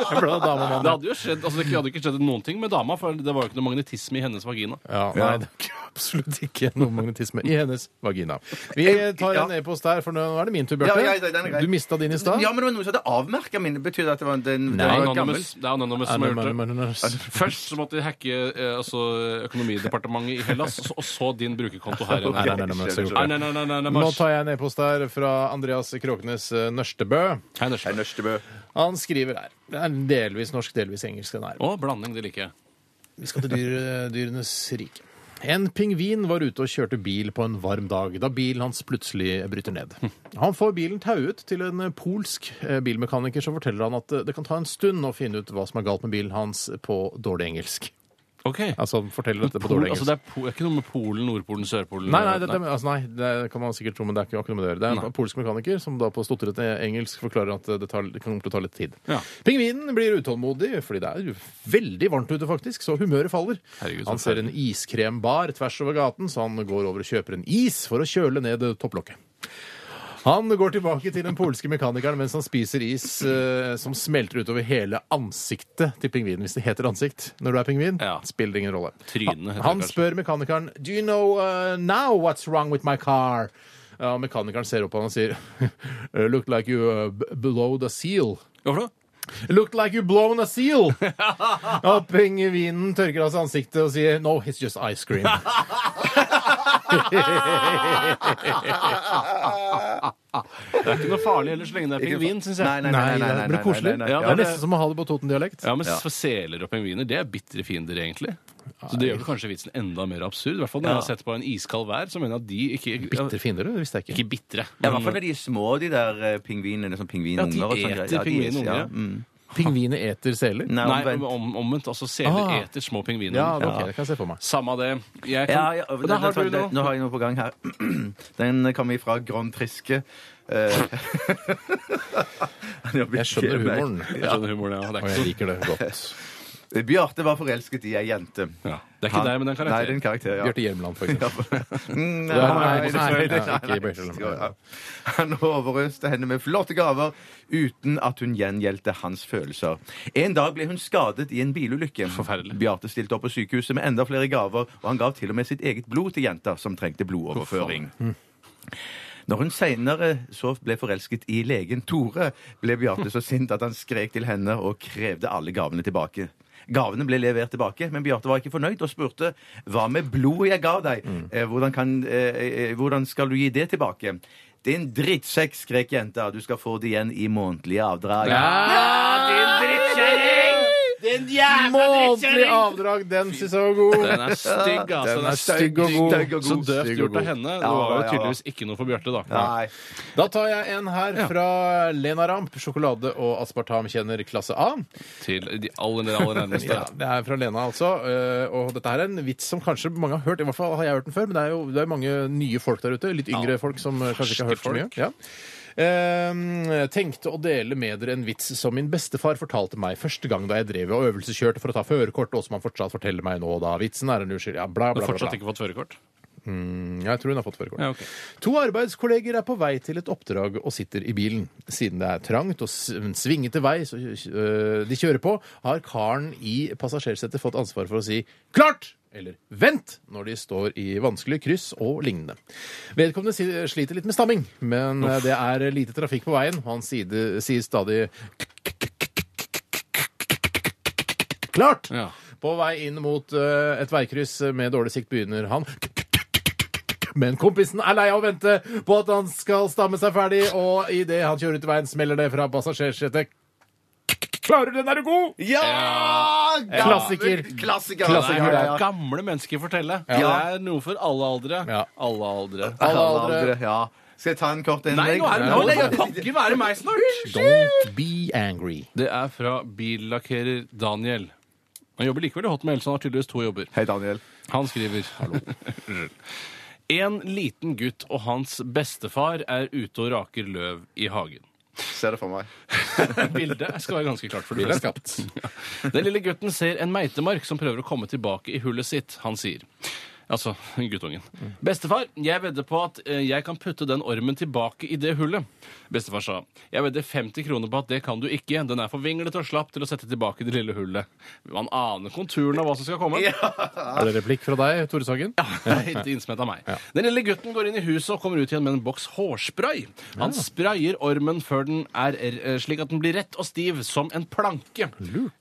Speaker 3: [LAUGHS] Jeg blanda dame og
Speaker 4: Det
Speaker 3: mann.
Speaker 4: hadde jo skjedd, altså, det hadde ikke skjedd noen ting med dama, for det var jo ikke noe magnetisme i hennes vagina.
Speaker 3: Ja, nei, det er ikke- absolutt ikke noe magnetisme i hennes vagina. Vi tar en
Speaker 5: Ja.
Speaker 3: e-post der, for nå er det min tur,
Speaker 5: Ja, ja, den er
Speaker 3: Bjarte.
Speaker 5: grei.
Speaker 3: Du mista din i stad.
Speaker 5: Ja, men det var noen som hadde avmerka mine. Betyr det at det var den
Speaker 4: Det er
Speaker 5: den var gammel?
Speaker 4: Anonymous, det er Anonymous som har gjort det. Først så måtte de hacke eh, altså, økonomidepartementet i Hellas, og så- og så din brukerkonto her.
Speaker 3: Nei, [LAUGHS] nei, nei, nei, men så gjorde jeg det.
Speaker 4: nei, nei, nei, nei,
Speaker 3: Nå
Speaker 4: Mars.
Speaker 3: tar jeg en e-post der fra Andreas Kråkenes eh, Nørstebø.
Speaker 4: Hei, Anders.
Speaker 5: Nei, Nøstebø.
Speaker 3: Han skriver her. Det er delvis norsk, delvis engelsk. Den her.
Speaker 4: Å, blanding, det liker jeg.
Speaker 3: Vi skal til dyr, eh, dyrenes rike. En pingvin var ute og kjørte bil på en varm dag, da bilen hans plutselig bryter ned. Han får bilen tauet til en polsk eh, bilmekaniker som forteller han at eh, det kan ta en stund å finne ut hva som er galt med bilen hans på dårlig engelsk.
Speaker 4: Ok.
Speaker 3: Altså, han forteller dette på
Speaker 4: Pol,
Speaker 3: dårlig
Speaker 4: altså,
Speaker 3: engelsk.
Speaker 4: det er, po det er ikke noe med Polen, Nordpolen, Sørpolen
Speaker 3: Nei, nei, det, det, altså, nei, det kan man sikkert tro, men det er ikke, har ikke noe med det å gjøre. Det er en polsk mekaniker som da på stotrete engelsk forklarer at det, tar, det kommer til å ta litt tid.
Speaker 4: Ja.
Speaker 3: Pingvinen blir utålmodig, fordi det er jo veldig varmt ute, faktisk, så humøret faller.
Speaker 4: Herregud, så
Speaker 3: han ser en iskrembar tvers over gaten, så han går over og kjøper en is for å kjøle ned topplokket. Han går tilbake til den polske mekanikeren mens han spiser is eh, som smelter utover hele ansiktet til pingvinen, hvis det heter ansikt når du er pingvin.
Speaker 4: Ja.
Speaker 3: Spiller ingen rolle.
Speaker 4: Trynet heter det
Speaker 3: Han
Speaker 4: kanskje.
Speaker 3: spør mekanikeren Do you know uh, now what's wrong with my car? Ja, og mekanikeren ser opp på han og sier [LAUGHS] Look like you uh, b- below the seal.
Speaker 4: Hvorfor det?
Speaker 3: Looked like you blown a
Speaker 4: [LAUGHS]
Speaker 3: seal! Og pingvinen tørker av seg ansiktet og sier No, it's just ice
Speaker 4: [LAUGHS]
Speaker 3: cream.
Speaker 4: Det er ikke noe farlig heller så lenge det er pingvin, syns jeg.
Speaker 5: Nei, nei, nei. nei, nei, nei,
Speaker 3: det blir koselig.
Speaker 5: nei, nei, nei.
Speaker 4: Ja,
Speaker 3: Det
Speaker 5: Ja,
Speaker 3: er nesten som å ha det på Toten-dialekt.
Speaker 4: Ja, men for Seler og pingviner det er bitre fiender, egentlig. Så Det gjør vel kanskje vitsen enda mer absurd. I hvert fall når jeg har sett på en iskald vær, så mener jeg at de ikke
Speaker 3: Bitre fiender, det visste jeg ikke.
Speaker 4: Ikke bitre.
Speaker 5: Ja, I hvert fall
Speaker 4: men-
Speaker 5: når de er små, de der eh, pingvinene. Sånn
Speaker 4: Ja,
Speaker 5: pingvinunger.
Speaker 4: de
Speaker 5: og sånn greier.
Speaker 4: eter
Speaker 5: Ja, de
Speaker 4: pingvinunger,
Speaker 5: ja.
Speaker 4: ja.
Speaker 5: Mm.
Speaker 3: Pingviner eter seler?
Speaker 5: Nei,
Speaker 4: Nei,
Speaker 5: omvendt.
Speaker 4: om, omvendt. Altså, seler
Speaker 3: Ah.
Speaker 4: eter små pingviner.
Speaker 3: Ja, ok, det kan jeg se for meg.
Speaker 4: Samme det. Jeg kan...
Speaker 5: Ja, ja,
Speaker 4: Sånn.
Speaker 5: og
Speaker 4: Og der
Speaker 5: den-
Speaker 4: har du
Speaker 5: den-
Speaker 4: noe.
Speaker 5: sånn, Nå har jeg noe på gang her. [CLEARS THROAT] Den kommer ifra eh. Grom Triske. [LAUGHS]
Speaker 3: Jeg skjønner humoren,
Speaker 4: Jeg skjønner humoren, ja. Det er
Speaker 3: og
Speaker 4: ikke,
Speaker 3: jeg
Speaker 4: så...
Speaker 3: liker det godt.
Speaker 5: Bjarte var forelsket i ei jente.
Speaker 4: ja. det er ikke deg, men den
Speaker 5: Nei, det er
Speaker 4: karakteren.
Speaker 5: en karakter, ja.
Speaker 3: Bjarte Hjelmeland,
Speaker 5: [LAUGHS]
Speaker 3: for eksempel.
Speaker 5: Mm,
Speaker 3: Det er han er
Speaker 5: nei,
Speaker 3: homoseksuell,
Speaker 5: nei, nei,
Speaker 3: ja, ikke
Speaker 5: nei,
Speaker 3: Bjarte Hjelmeland.
Speaker 5: nei. Han overøste henne med flotte gaver uten at hun gjengjeldte hans følelser. En dag ble hun skadet i en bilulykke.
Speaker 4: Forferdelig.
Speaker 5: Bjarte stilte opp på sykehuset med enda flere gaver, og han gav til og med sitt eget blod til jenta, som trengte blodoverføring. Når hun seinere så ble forelsket i legen Tore, ble Bjarte så sint at han skrek til henne og krevde alle gavene tilbake. Gavene ble levert tilbake, men Bjarte var ikke fornøyd og spurte hva med blodet jeg ga deg?
Speaker 4: Mm.
Speaker 5: Eh, Hvordan, kan, eh, eh, hvordan skal du gi det tilbake? Din drittsekk, skrek jenta. Du skal få det igjen i månedlige avdrag.
Speaker 3: Ah, Månedlig avdrag, den syns jeg var god.
Speaker 4: Den er stygg, altså. Den er stygg.
Speaker 3: og
Speaker 5: Stygg og
Speaker 4: Så
Speaker 5: god.
Speaker 4: døvt
Speaker 3: Stygg og
Speaker 4: gjort
Speaker 3: god.
Speaker 4: av henne. Det
Speaker 5: Ja,
Speaker 4: var jo
Speaker 5: ja, ja.
Speaker 4: tydeligvis ikke noe for Bjarte, da.
Speaker 5: Nei.
Speaker 3: Da tar jeg en her fra Lena Ramp, sjokolade- og aspartamkjenner klasse A.
Speaker 4: Til de aller, aller nærmeste.
Speaker 3: [LAUGHS] Ja, det er fra Lena, altså. Eh, Og dette her er en vits som kanskje mange har hørt. I hvert fall har jeg hørt den før, men det er jo det er mange nye folk der ute. Litt yngre folk som eh, kanskje ikke har hørt så mye. Ja. Eh, tenkte å dele med dere en vits som min bestefar fortalte meg første gang da jeg drev og øvelseskjørte for å ta førerkort, og som han fortsatt forteller meg nå, da. Vitsen er en uskyld. Ja, bla,
Speaker 4: Du
Speaker 3: bla,
Speaker 4: har
Speaker 3: bla. bla.
Speaker 4: fortsatt ikke fått førerkort?
Speaker 3: Ja, jeg tror hun har fått førerkort.
Speaker 4: Ja, ok.
Speaker 3: To arbeidskolleger er på vei til et oppdrag og sitter i bilen. Siden det er trangt og s- en svingete vei så, øh, de kjører på, har karen i passasjersetet fått ansvar for å si 'klart' eller 'vent' når de står i vanskelige kryss og lignende. Vedkommende si- sliter litt med stamming, men øh, det er lite trafikk på veien. og Han side, sier stadig Klart!
Speaker 4: Ja.
Speaker 3: På vei inn mot eh, et veikryss med dårlig sikt begynner han men kompisen er lei av å vente på at han skal stamme seg ferdig, og idet han kjører ut i veien, smeller det fra passasjersetet. Klarer du den, er du god!
Speaker 5: Ja! ja!
Speaker 3: Klassiker.
Speaker 5: Klassiker.
Speaker 3: Klassiker,
Speaker 5: Ja, ja, ja.
Speaker 4: Gamle mennesker fortelle. Det er noe for alle aldre.
Speaker 3: Ja. Ah,
Speaker 4: Alle aldre.
Speaker 3: Alle
Speaker 5: Alle
Speaker 3: aldre.
Speaker 5: aldre, Ja. Skal jeg ta en kort
Speaker 4: Nei,
Speaker 5: innlegg?
Speaker 4: nå er det
Speaker 5: Ja.
Speaker 4: nå! Det kan ikke være meg snart!
Speaker 3: Don't be angry.
Speaker 4: Det er fra billakkerer Daniel. Han jobber likevel i Hotmail, så han har tydeligvis to jobber.
Speaker 5: Hei, Daniel.
Speaker 4: Han skriver
Speaker 3: [LAUGHS]
Speaker 4: Unnskyld. En liten gutt og hans bestefar er ute og raker løv i hagen.
Speaker 5: Ser det for meg.
Speaker 4: [LAUGHS] Bildet skal være ganske klart for det
Speaker 3: Bildet er
Speaker 4: første. Ja. Den lille gutten ser en meitemark som prøver å komme tilbake i hullet sitt. Han sier Altså guttungen. Bestefar, jeg vedder på at eh, jeg kan putte den ormen tilbake i det hullet. Bestefar sa. Jeg vedder 50 kroner på at det kan du ikke. Den er for vinglete og slapp til å sette tilbake i det lille hullet. Man aner konturen av hva som skal komme.
Speaker 3: Er det replikk fra deg, Tore Sagen?
Speaker 4: Ja, [LAUGHS] Ikke innsmett av meg. Den lille gutten går inn i huset og kommer ut igjen med en boks hårspray. Han sprayer ormen før den er er- slik at den blir rett og stiv som en planke.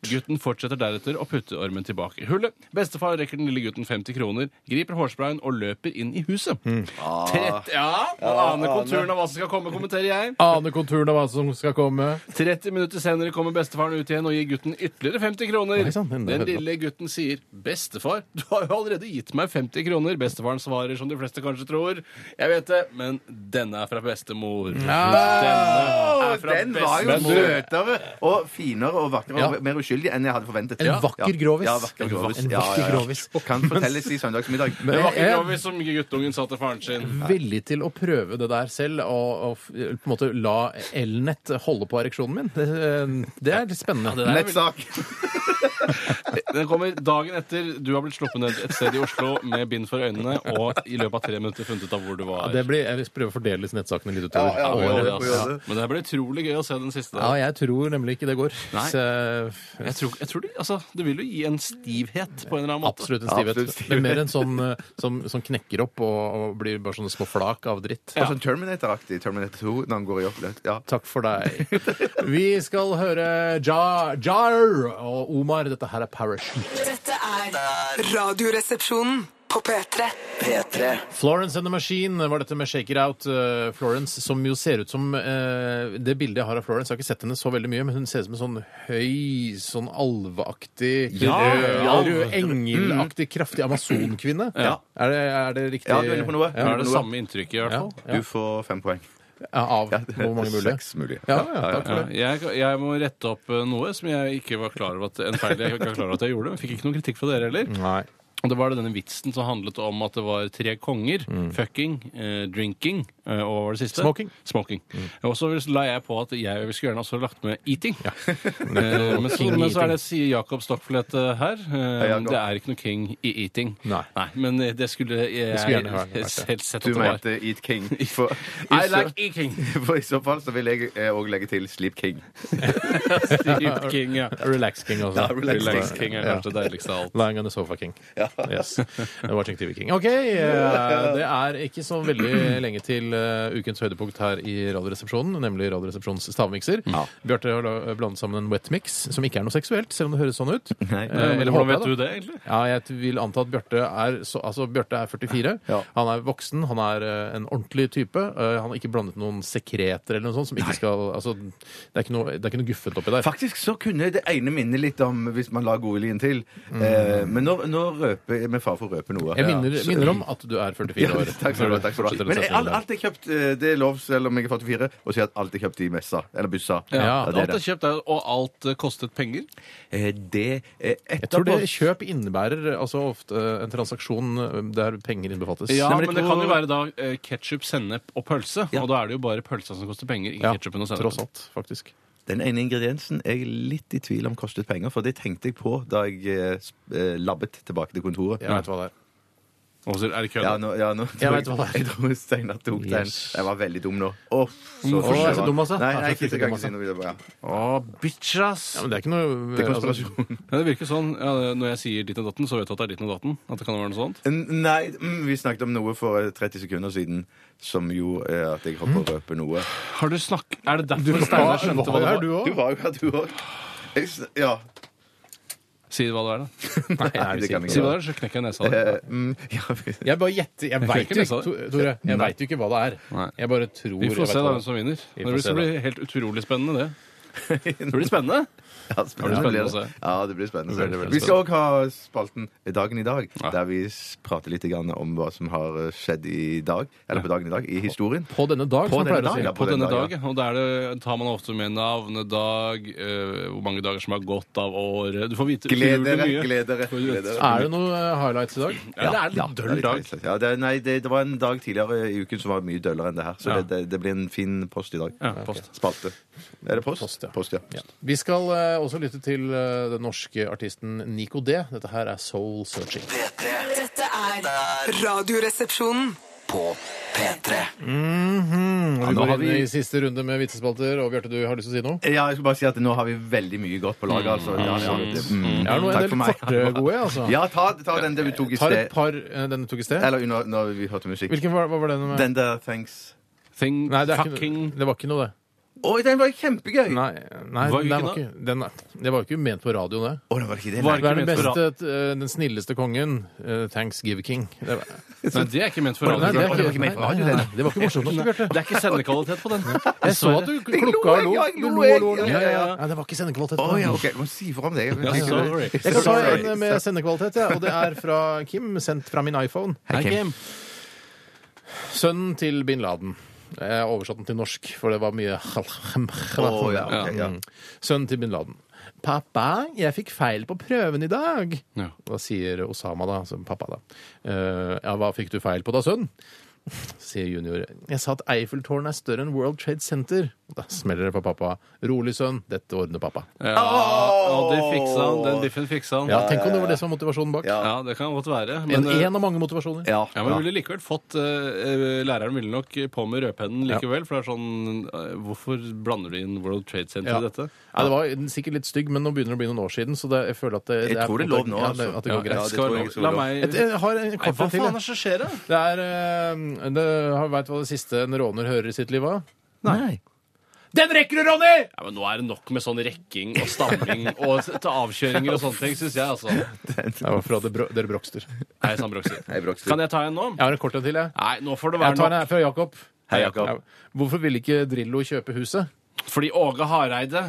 Speaker 4: Gutten fortsetter deretter å putte ormen tilbake i hullet. Bestefar rekker den lille gutten 50 kroner, griper hårsprayen og løper inn i huset. Trett, Mm. ja, man aner konturen av hva som skal komme, kommenterer jeg.
Speaker 3: Aner konturene av hva som skal komme.
Speaker 4: 30 minutter senere kommer bestefaren ut igjen og gir gutten ytterligere 50 kroner.
Speaker 3: Nei, sant, den-
Speaker 4: Den lille gutten sier 'Bestefar, [LAUGHS] du har jo allerede gitt meg 50 kroner'. Bestefaren svarer som de fleste kanskje tror. Jeg vet det, men denne er fra bestemor.
Speaker 3: Mm.
Speaker 4: Denne er fra
Speaker 5: Den var jo
Speaker 4: bestemor.
Speaker 5: søtere og finere og vakrere og
Speaker 3: Ja.
Speaker 5: mer uskyldig enn jeg hadde forventet.
Speaker 3: En
Speaker 5: Ja.
Speaker 3: vakker grovis.
Speaker 5: Ja, vakker
Speaker 3: En va-
Speaker 5: grovis.
Speaker 3: en
Speaker 5: Ja,
Speaker 3: vakker
Speaker 5: ja, ja.
Speaker 3: grovis.
Speaker 5: Og Kan fortelles i søndagsmiddag.
Speaker 4: Det
Speaker 3: Men-
Speaker 4: var ikke grovis som guttungen sa til faren sin.
Speaker 3: villig til å prøve det der selv og, og f- på en måte la elnett holde på ereksjonen min. Det, eh, det er litt spennende.
Speaker 4: der-
Speaker 5: Nettsak.
Speaker 4: Den kommer dagen etter du har blitt sluppet ned et sted i Oslo med bind for øynene og i løpet av tre minutter funnet ut av hvor du var.
Speaker 3: Ja, det blir, jeg vil prøve å fordele disse nettsakene litt utover.
Speaker 5: Ja, ja,
Speaker 4: Å,
Speaker 5: vi
Speaker 3: året.
Speaker 5: gjør det, vi gjør
Speaker 4: altså.
Speaker 5: det.
Speaker 4: Men det her ble utrolig gøy å se den siste.
Speaker 3: Ja, jeg tror nemlig ikke det går.
Speaker 4: Nei.
Speaker 3: Så, eh,
Speaker 4: Jeg tror, jeg tror det, altså, det vil jo gi en stivhet på en eller annen måte.
Speaker 3: absolutt en stivhet.
Speaker 5: Absolutt stivhet.
Speaker 3: Men mer en sånn eh, som, som knekker opp og, og blir bare sånne små flak av dritt. Altså,
Speaker 5: Og sånn Terminator-aktig. Terminator 2 når han går i oppløp. Ja.
Speaker 3: Takk for deg. Vi skal høre Jar, Jar og Omar. Dette her er Parachute.
Speaker 1: Dette er Radioresepsjonen på P3.
Speaker 2: P3
Speaker 3: Florence and the Machine var dette med Shake It Out. eh, Florence, som jo ser ut som eh, Det bildet jeg har av Florence, jeg har ikke sett henne så veldig mye, men hun ser ut som en sånn høy, sånn alveaktig, rød, rød engelaktig, kraftig amazonkvinne.
Speaker 4: Ja.
Speaker 3: Er, det, er det riktig?
Speaker 5: Ja, du er inne på noe.
Speaker 4: Det
Speaker 3: Ja.
Speaker 4: er det samme inntrykket, i hvert
Speaker 3: Ja,
Speaker 4: fall.
Speaker 3: ja.
Speaker 5: Du får fem poeng.
Speaker 3: Ja, Av hvor mange mulige?
Speaker 5: Seks mulige.
Speaker 3: Ja, ja, takk for
Speaker 4: Ja,
Speaker 3: det.
Speaker 4: jeg, jeg må rette opp eh, noe som jeg ikke var klar over at, en feil jeg ikke var klar over at jeg gjorde. Jeg Fikk ikke noen kritikk fra dere heller.
Speaker 3: Nei.
Speaker 4: Og det var denne vitsen som handlet om at det var tre konger. Fucking, eh, drinking eh, og hva var det siste?
Speaker 3: Smoking.
Speaker 4: Smoking. Og så la jeg på at jeg skulle gjerne også lagt med eating. [LAUGHS] Eh, men, så,
Speaker 3: King
Speaker 4: men så
Speaker 3: eating.
Speaker 4: er det, sier Jakob Stockflett eh, her, eh,
Speaker 5: Jakob.
Speaker 4: det er ikke noe king i eating.
Speaker 3: Nei.
Speaker 4: men eh, det skulle jeg,
Speaker 3: skulle
Speaker 4: [LAUGHS]
Speaker 3: gjerne vært det.
Speaker 4: selv sett at
Speaker 5: Du
Speaker 4: det var.
Speaker 5: mente Eat King. For,
Speaker 4: I
Speaker 5: i,
Speaker 4: like eating.
Speaker 5: [LAUGHS] så, for i så fall så vil jeg òg legge til Sleep King.
Speaker 4: [LAUGHS] Steve King, ja.
Speaker 3: Relax King, altså.
Speaker 5: Relax
Speaker 4: Relax King er kanskje det deiligste av alt.
Speaker 3: Lying on the sofa king. Yes. Det var Ching TV King. OK! eh, Det er ikke så veldig lenge til eh, ukens høydepunkt her i Radioresepsjonen, nemlig Radioresepsjonens stavmikser. Bjarte har la- eh, blandet sammen en wet mix, som ikke er noe seksuelt, selv om det høres sånn ut.
Speaker 5: Nei.
Speaker 3: Eh,
Speaker 4: Men hvordan
Speaker 3: eller håper jeg,
Speaker 4: vet
Speaker 3: da.
Speaker 4: du det, egentlig?
Speaker 3: Ja, jeg vil anta at Bjarte er, så, altså, Bjarte er 44.
Speaker 5: Ja.
Speaker 3: Han er voksen, han er eh, en ordentlig type. Eh, han har ikke blandet noen sekreter eller noe sånt. Som ikke skal, altså, det, er ikke noe, det er ikke noe guffent oppi der.
Speaker 5: Faktisk så kunne det ene minnet litt om hvis man la godviljen til. Eh, men nå, nå røper jeg med far for å røpe noe.
Speaker 3: Jeg minner,
Speaker 5: Ja. Så-
Speaker 3: minner om at du er 44
Speaker 5: Ja,
Speaker 3: år.
Speaker 5: takk skal du ha. Takk skal du ha.
Speaker 3: Fortsetter
Speaker 5: Men
Speaker 3: setningen
Speaker 5: alt,
Speaker 3: der.
Speaker 5: alt er kjøpt, eh, det er lov selv om jeg er 44, å si at alt er kjøpt i messa. Eller byssa.
Speaker 4: Ja,
Speaker 3: Ja,
Speaker 5: det er
Speaker 4: alt er
Speaker 5: det.
Speaker 4: kjøpt, der, og alt eh, kostet penger.
Speaker 5: Eh, det eh,
Speaker 3: Jeg tror det
Speaker 5: etterpå
Speaker 3: kjøp innebærer altså ofte eh, en transaksjon eh, der penger innbefattes.
Speaker 4: Ja,
Speaker 5: Nei,
Speaker 4: men
Speaker 5: men
Speaker 4: det,
Speaker 5: jeg
Speaker 4: kan
Speaker 5: tror-
Speaker 4: jo være da ketsjup, sennep og pølse.
Speaker 5: Ja.
Speaker 4: Og da er det jo bare pølsa som koster penger, ikke
Speaker 3: Ja,
Speaker 4: ketchupen og
Speaker 3: tross
Speaker 4: sennepen.
Speaker 3: alt, faktisk.
Speaker 5: Den ene ingrediensen er jeg litt i tvil om kostet penger, for det tenkte jeg på da jeg eh, sp- eh, labbet tilbake til kontoret.
Speaker 3: Jeg veit hva det er.
Speaker 4: Og så er det kødd.
Speaker 5: Ja, nå, ja, nå,
Speaker 3: Jeg
Speaker 5: [LAUGHS]
Speaker 3: vet hva det er.
Speaker 5: Jeg tror Steinar tok den.
Speaker 3: Yes.
Speaker 5: Jeg var veldig dum nå. Åh, så
Speaker 3: Hvorfor er jeg så dum, altså?
Speaker 5: Nei,
Speaker 3: Jeg
Speaker 5: nei,
Speaker 3: er
Speaker 5: ikke,
Speaker 3: så
Speaker 5: jeg kan
Speaker 3: dum, altså.
Speaker 5: ikke si noe videre. Ja.
Speaker 4: Å, bitch, ass!
Speaker 3: Ja, men det er ikke noe
Speaker 5: Det er
Speaker 3: altså,
Speaker 5: konspirasjon.
Speaker 4: Ja,
Speaker 5: [LAUGHS]
Speaker 4: det virker sånn. Ja, det- når jeg sier ditten og datten, så vet du at det er ditten og datten. At det kan være noe sånt.
Speaker 5: N- Nei, mm, vi snakket om noe for eh, 30 sekunder siden som gjorde eh, at jeg
Speaker 3: Mm.
Speaker 5: holdt på å røpe noe.
Speaker 4: Har du snakk... Er det
Speaker 3: Du
Speaker 4: derfor
Speaker 3: var,
Speaker 4: Steinar skjønte hva
Speaker 3: var
Speaker 4: det
Speaker 3: her,
Speaker 4: var?
Speaker 3: du
Speaker 5: Du
Speaker 3: òg?
Speaker 5: var jo her, du òg. Jeg sn- Ja.
Speaker 4: Si hva det er, da.
Speaker 3: [LAUGHS] Nei, jeg
Speaker 5: det
Speaker 3: sier ikke
Speaker 5: kan jeg
Speaker 4: Si
Speaker 3: det.
Speaker 4: hva det er, så knekker jeg nesa av det.
Speaker 5: Eh, mm, [LAUGHS] ja, vi-
Speaker 3: Jeg bare gjetter. Jeg
Speaker 4: kan
Speaker 3: veit
Speaker 4: ikke
Speaker 3: jo,
Speaker 4: lese
Speaker 3: ikke,
Speaker 4: det.
Speaker 3: Tore, jeg vet jo ikke hva det er.
Speaker 4: Nei.
Speaker 3: Jeg bare tror
Speaker 4: Vi
Speaker 3: jeg
Speaker 4: får
Speaker 3: vet
Speaker 4: se da
Speaker 3: hva
Speaker 4: hvem
Speaker 3: det er.
Speaker 4: som vinner.
Speaker 3: Vi
Speaker 4: Det
Speaker 3: får
Speaker 4: blir-
Speaker 3: se
Speaker 4: det blir helt utrolig spennende, det. Det blir spennende.
Speaker 5: Ja, spennende.
Speaker 4: Det blir spennende å se.
Speaker 5: Ja, det blir spennende. å se.
Speaker 4: Veldig, veldig
Speaker 5: Vi skal òg ha spalten Dagen i dag, der vi s- prater litt grann om hva som har eh, skjedd i dag, eller på dagen i dag, i historien.
Speaker 3: På denne dag,
Speaker 5: På
Speaker 3: som man pleier
Speaker 5: denne
Speaker 3: å
Speaker 5: dag,
Speaker 3: si.
Speaker 5: ja.
Speaker 4: På
Speaker 5: på
Speaker 4: denne
Speaker 5: den
Speaker 4: dag,
Speaker 5: dagen.
Speaker 4: ja. og da er det, tar man ofte med navnedag, eh, hvor mange dager som har gått av året Du får vite
Speaker 5: Gled
Speaker 4: utrolig
Speaker 5: dere,
Speaker 4: mye.
Speaker 5: gled dere. gled dere.
Speaker 3: Er det noen eh, highlights i dag?
Speaker 4: Ja, det er en litt
Speaker 5: Ja,
Speaker 4: døll
Speaker 5: litt
Speaker 4: dag.
Speaker 5: trist. Ja, det, er- nei, det, det var en dag tidligere i uken som var mye døllere enn det her. Så det, det, det blir en fin post i dag.
Speaker 4: Ja, post.
Speaker 5: Spalte. Er det post?
Speaker 3: Post, ja.
Speaker 5: ja.
Speaker 3: Vi skal eh, også lytte til eh, den norske artisten Nico D. Dette her er Soul Searching.
Speaker 2: P3
Speaker 1: Dette er Radioresepsjonen.
Speaker 2: på P3
Speaker 3: Hmm, Og
Speaker 5: nå
Speaker 3: vi går
Speaker 5: har
Speaker 3: inn i
Speaker 5: vi-
Speaker 3: siste runde med vitsespalter. Og Bjarte, du har lyst til å si noe?
Speaker 5: Ja, jeg skal bare si at nå har vi veldig mye godt på
Speaker 4: Mm.
Speaker 5: laget, altså. Ja, ja, det- mm.
Speaker 3: Ja, nå er
Speaker 5: Takk
Speaker 3: det litt
Speaker 5: for meg.
Speaker 3: korte gode, altså.
Speaker 5: Ja, ta, ta den det vi tok i
Speaker 3: Tar et
Speaker 5: sted.
Speaker 3: par eh, denne tok i sted.
Speaker 5: Eller når, når vi hørte musikk.
Speaker 3: Hvilken var, hva var den med?
Speaker 5: Den der Thanks.
Speaker 4: Thing,
Speaker 3: Nei, det, er ikke,
Speaker 4: fucking
Speaker 3: det var ikke noe, det.
Speaker 5: Oi, den var kjempegøy!
Speaker 3: Nei, nei
Speaker 4: Var
Speaker 3: den
Speaker 4: det ikke
Speaker 3: var ikke, den, det var jo ikke ment på radio, det.
Speaker 5: Å, det var ikke det.
Speaker 4: Var det
Speaker 5: Nei.
Speaker 3: Det er den
Speaker 4: ment for
Speaker 3: beste, eh, den snilleste kongen. eh, Thanksgiving King. Det var,
Speaker 4: Nei, det er ikke ment for
Speaker 3: Nei,
Speaker 4: alle.
Speaker 3: det,
Speaker 5: var ikke ment for radio, det.
Speaker 3: nei, nei, det var ikke morsomt nok, Bjarte.
Speaker 4: Det er ikke sendekvalitet på den.
Speaker 3: [LAUGHS] Jeg så at du klukka og
Speaker 5: lo,
Speaker 3: lo.
Speaker 5: jeg
Speaker 3: Du
Speaker 5: lo,
Speaker 3: lo og lo.
Speaker 5: jeg-
Speaker 3: Ja, ja, ja.
Speaker 5: ja.
Speaker 3: Nei, det var ikke sendekvalitet.
Speaker 5: Å
Speaker 3: på
Speaker 5: ja,
Speaker 3: den.
Speaker 5: OK. Du må si fra om det. Jeg-
Speaker 4: Ja, sorry.
Speaker 3: Jeg sa
Speaker 5: Sorry.
Speaker 3: en med sendekvalitet, ja, og det er fra Kim, sendt fra min iPhone.
Speaker 5: Hei, Kim.
Speaker 3: Sønnen til bin Laden. Jeg oversatte den til norsk, for det var mye
Speaker 5: Å, ja,
Speaker 3: sånn,
Speaker 5: ok, ja.
Speaker 3: Mm. Sønnen til bin Laden. Pappa, jeg fikk feil på prøven i dag.
Speaker 4: Ja.
Speaker 3: Da sier Osama, da, som pappa, da. «Eh, ja, hva fikk du feil på da, sønn? Sier junior. Jeg sa at Eiffeltårnet er større enn World Trade Center. Da smeller det på pappa. Rolig, sønn. Dette ordner pappa.
Speaker 4: Ja, og det fiksa han. Den biffen fiksa han.
Speaker 3: Ja, tenk om det var det som var motivasjonen bak.
Speaker 4: Ja, det kan godt være.
Speaker 3: En,
Speaker 4: Men, eh,
Speaker 3: en av mange motivasjoner.
Speaker 5: Ja.
Speaker 4: ja, men ville likevel fått eh, eh, Læreren ville nok på med rødpennen likevel. For det er sånn eh, Hvorfor blander du inn World Trade Center
Speaker 3: Ja.
Speaker 4: i dette?
Speaker 3: Ja, det var sikkert litt stygg, men nå begynner det å bli noen år siden. Så det, jeg føler at det,
Speaker 5: Jeg
Speaker 3: det
Speaker 5: tror det er lov nå,
Speaker 3: ja, det,
Speaker 5: altså.
Speaker 3: at det går
Speaker 4: Ja,
Speaker 3: greit.
Speaker 4: det
Speaker 5: skal
Speaker 4: tror
Speaker 5: være
Speaker 4: jeg
Speaker 5: lov.
Speaker 4: La meg
Speaker 3: Et- Jeg har en
Speaker 4: Nei, Hva
Speaker 3: kort en
Speaker 4: faen
Speaker 3: til. jeg.
Speaker 4: er det som skjer, da?
Speaker 3: Det er eh, det, har Veit du hva det siste en råner hører i sitt liv var?
Speaker 5: Nei.
Speaker 3: Den rekker du, Ronny!
Speaker 4: Ja, men nå er det nok med sånn rekking og
Speaker 3: [LAUGHS]
Speaker 4: stamming og s- til avkjøringer og sånne ting, syns jeg, altså.
Speaker 3: Det var fra dere, dere Brokster. Jeg
Speaker 4: Nei, sann Brokstad.
Speaker 5: Hei, Brokstad.
Speaker 4: Kan jeg ta en nå?
Speaker 3: har en kort en til, jeg.
Speaker 4: Nei, nå får det
Speaker 3: Jeg
Speaker 4: være
Speaker 3: tar den
Speaker 4: nok.
Speaker 3: her fra Jakob.
Speaker 5: Hei, Jakob.
Speaker 3: Ja. Hvorfor ville ikke Drillo kjøpe huset?
Speaker 4: Fordi Åge Hareide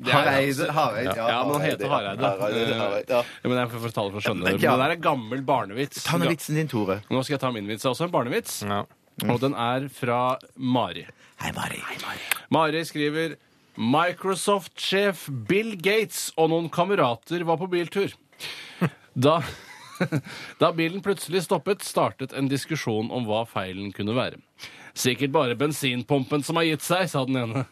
Speaker 4: det er- altså-
Speaker 5: Hareide. Hareide.
Speaker 4: Ja, men han heter Hareide.
Speaker 5: Hareide, Hareide, ja.
Speaker 4: Ja, men jeg får fortelle for å skjønne det. Men
Speaker 5: Ja, ja.
Speaker 4: det der er gammel barnevits.
Speaker 5: Ta med vitsen din, Tore.
Speaker 4: Nå skal jeg ta min vits. Det er også en barnevits.
Speaker 3: Ja.
Speaker 4: Og den er fra Mari.
Speaker 5: Hei, Mari.
Speaker 4: Mari skriver Microsoft-sjef Bill Gates og noen kamerater var på biltur. Da, [LAUGHS] da bilen plutselig stoppet, startet en diskusjon om hva feilen kunne være. Sikkert bare bensinpumpen som har gitt seg, sa den ene.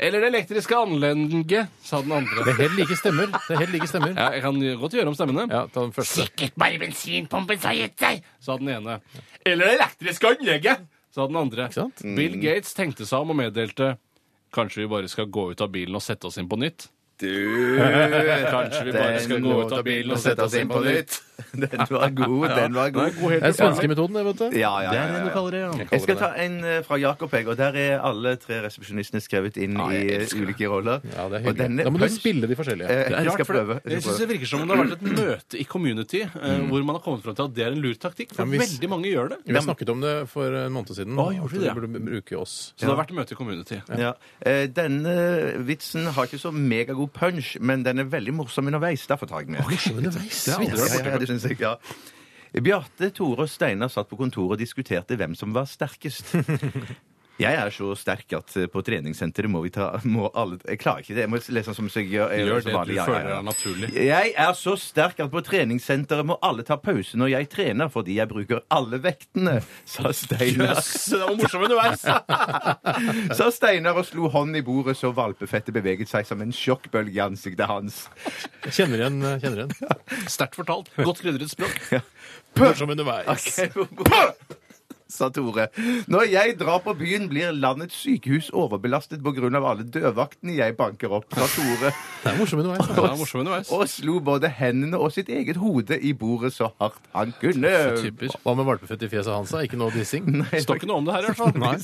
Speaker 4: Eller det elektriske anlegget, sa den
Speaker 3: Det
Speaker 4: andre.
Speaker 3: er helt like stemmer. Det er helt like stemmer.
Speaker 4: Ja, jeg kan godt gjøre om stemmene.
Speaker 3: Ja, ta den første.
Speaker 4: Sikkert bare bensinpumpen som har gitt seg, sa den ene. Eller det elektriske anlegget, Mm. sa den andre.
Speaker 3: sant?
Speaker 4: Bill Gates tenkte seg om og meddelte Kanskje vi bare skal gå ut av bilen og sette oss inn på nytt?
Speaker 5: [LAUGHS]
Speaker 4: Kanskje vi bare skal gå ut av bilen og sette oss inn på nytt?
Speaker 5: [LAUGHS] Den var god,
Speaker 4: [LAUGHS]
Speaker 5: den var god.
Speaker 3: Det er svenskemetoden, det, vet du.
Speaker 5: Ja, ja, ja, ja, ja.
Speaker 4: kaller det, ja.
Speaker 5: Jeg skal ta en eh, fra Jakob, jeg, og der er alle tre resepsjonistene skrevet inn i eh, ulike roller.
Speaker 3: Ja, det er
Speaker 5: og
Speaker 3: hyggelig.
Speaker 5: denne
Speaker 3: Da må du
Speaker 5: punch-
Speaker 3: spille de forskjellige.
Speaker 5: Eh, Jeg skal prøve.
Speaker 4: Jeg
Speaker 5: Jeg skal
Speaker 4: synes
Speaker 5: prøve.
Speaker 4: Det virker som om det har vært et møte i community eh, hvor man har kommet frem til at det er en lur taktikk. For
Speaker 3: Ja, men hvis-
Speaker 4: veldig mange gjør det.
Speaker 3: Vi har snakket om det for en måned siden.
Speaker 4: Å, gjorde vi
Speaker 3: at
Speaker 4: det?
Speaker 3: burde b- bruke oss.
Speaker 4: Så det har vært møte i community.
Speaker 5: Ja. Eh, Denne vitsen har ikke så megagod punch, men den er veldig morsom underveis. Derfor tar jeg den med.
Speaker 3: Underveis.
Speaker 5: Ja, ja, ja, ja, det synes jeg, ja. Bjarte, Tore og Steinar satt på kontoret og diskuterte hvem som var sterkest. Jeg er så sterk at eh, på treningssenteret må vi ta må alle, Jeg klarer ikke det. Jeg må lese den som jeg gjør. jeg
Speaker 4: Gjør
Speaker 5: som
Speaker 4: det du
Speaker 5: vanlig. Ja, ja, ja.
Speaker 4: føler er naturlig.
Speaker 5: Jeg er så sterk at på treningssenteret må alle ta pause når jeg trener, fordi jeg bruker alle vektene, sa Steinar.
Speaker 4: [LAUGHS] Jøss, det var morsomt underveis!
Speaker 5: Sa Steinar og slo hånden i bordet så valpefettet beveget seg som en sjokkbølge i ansiktet hans.
Speaker 3: Kjenner igjen.
Speaker 4: [LAUGHS]
Speaker 3: Kjenner igjen.
Speaker 4: Sterkt fortalt. Godt krydret språk.
Speaker 3: Morsom underveis.
Speaker 5: sa Tore. Når jeg drar på byen, blir landets sykehus overbelastet pga. alle dørvaktene jeg banker opp, sa Tore.
Speaker 3: Det er morsom underveis.
Speaker 4: [LAUGHS] Det
Speaker 3: Ja.
Speaker 4: var morsomt underveis.
Speaker 5: Og slo både hendene og sitt eget hode i bordet så hardt han kunne.
Speaker 4: Typer.
Speaker 3: Hva med valpefett i fjeset hans? da? Ikke noe
Speaker 4: [LAUGHS]
Speaker 3: dissing?
Speaker 4: Det står ikke noe om det her, i hvert fall.
Speaker 3: Nei,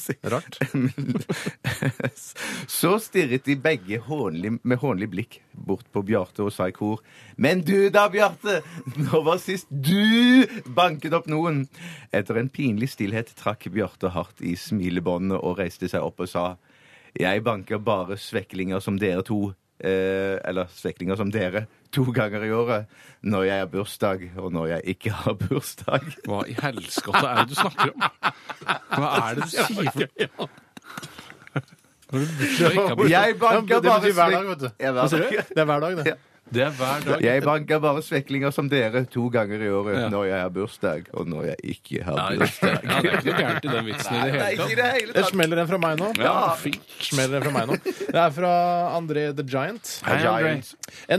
Speaker 3: rart.
Speaker 5: [LAUGHS] Så stirret de begge hånlig, med hånlig blikk bort på Bjarte og sa i kor Men du da, Bjarte! Når var sist du banket opp noen? Etter en pinlig stillhet trakk Bjarte hardt i smilebåndet og reiste seg opp og sa Jeg banker bare sveklinger som dere to. Eh, eller sveklinger som dere. To ganger i året. Når jeg har bursdag, og når jeg ikke har bursdag.
Speaker 4: Hva i helskotte er det du snakker om? Hva er det du sier for Når du bursdag og ikke har bursdag?
Speaker 5: Jeg banker
Speaker 3: det
Speaker 5: bare
Speaker 3: betyr hver dag,
Speaker 5: svek-
Speaker 3: vet du.
Speaker 5: Ja, hver
Speaker 3: Hva sier
Speaker 5: dag.
Speaker 3: du? Det er hver dag, det.
Speaker 4: Det er hver dag.
Speaker 5: Jeg banker bare sveklinger som dere to ganger i året
Speaker 4: Ja.
Speaker 5: når jeg har bursdag, og når jeg ikke har
Speaker 4: Nei, det
Speaker 5: bursdag.
Speaker 4: ja, det er ikke noe gærent i den vitsen i [LAUGHS] det hele tatt.
Speaker 5: det hele
Speaker 3: Det smeller en fra meg nå.
Speaker 4: Ja, fint.
Speaker 3: Smeller en fra meg nå. Det er fra André the Giant.
Speaker 4: Hei, André.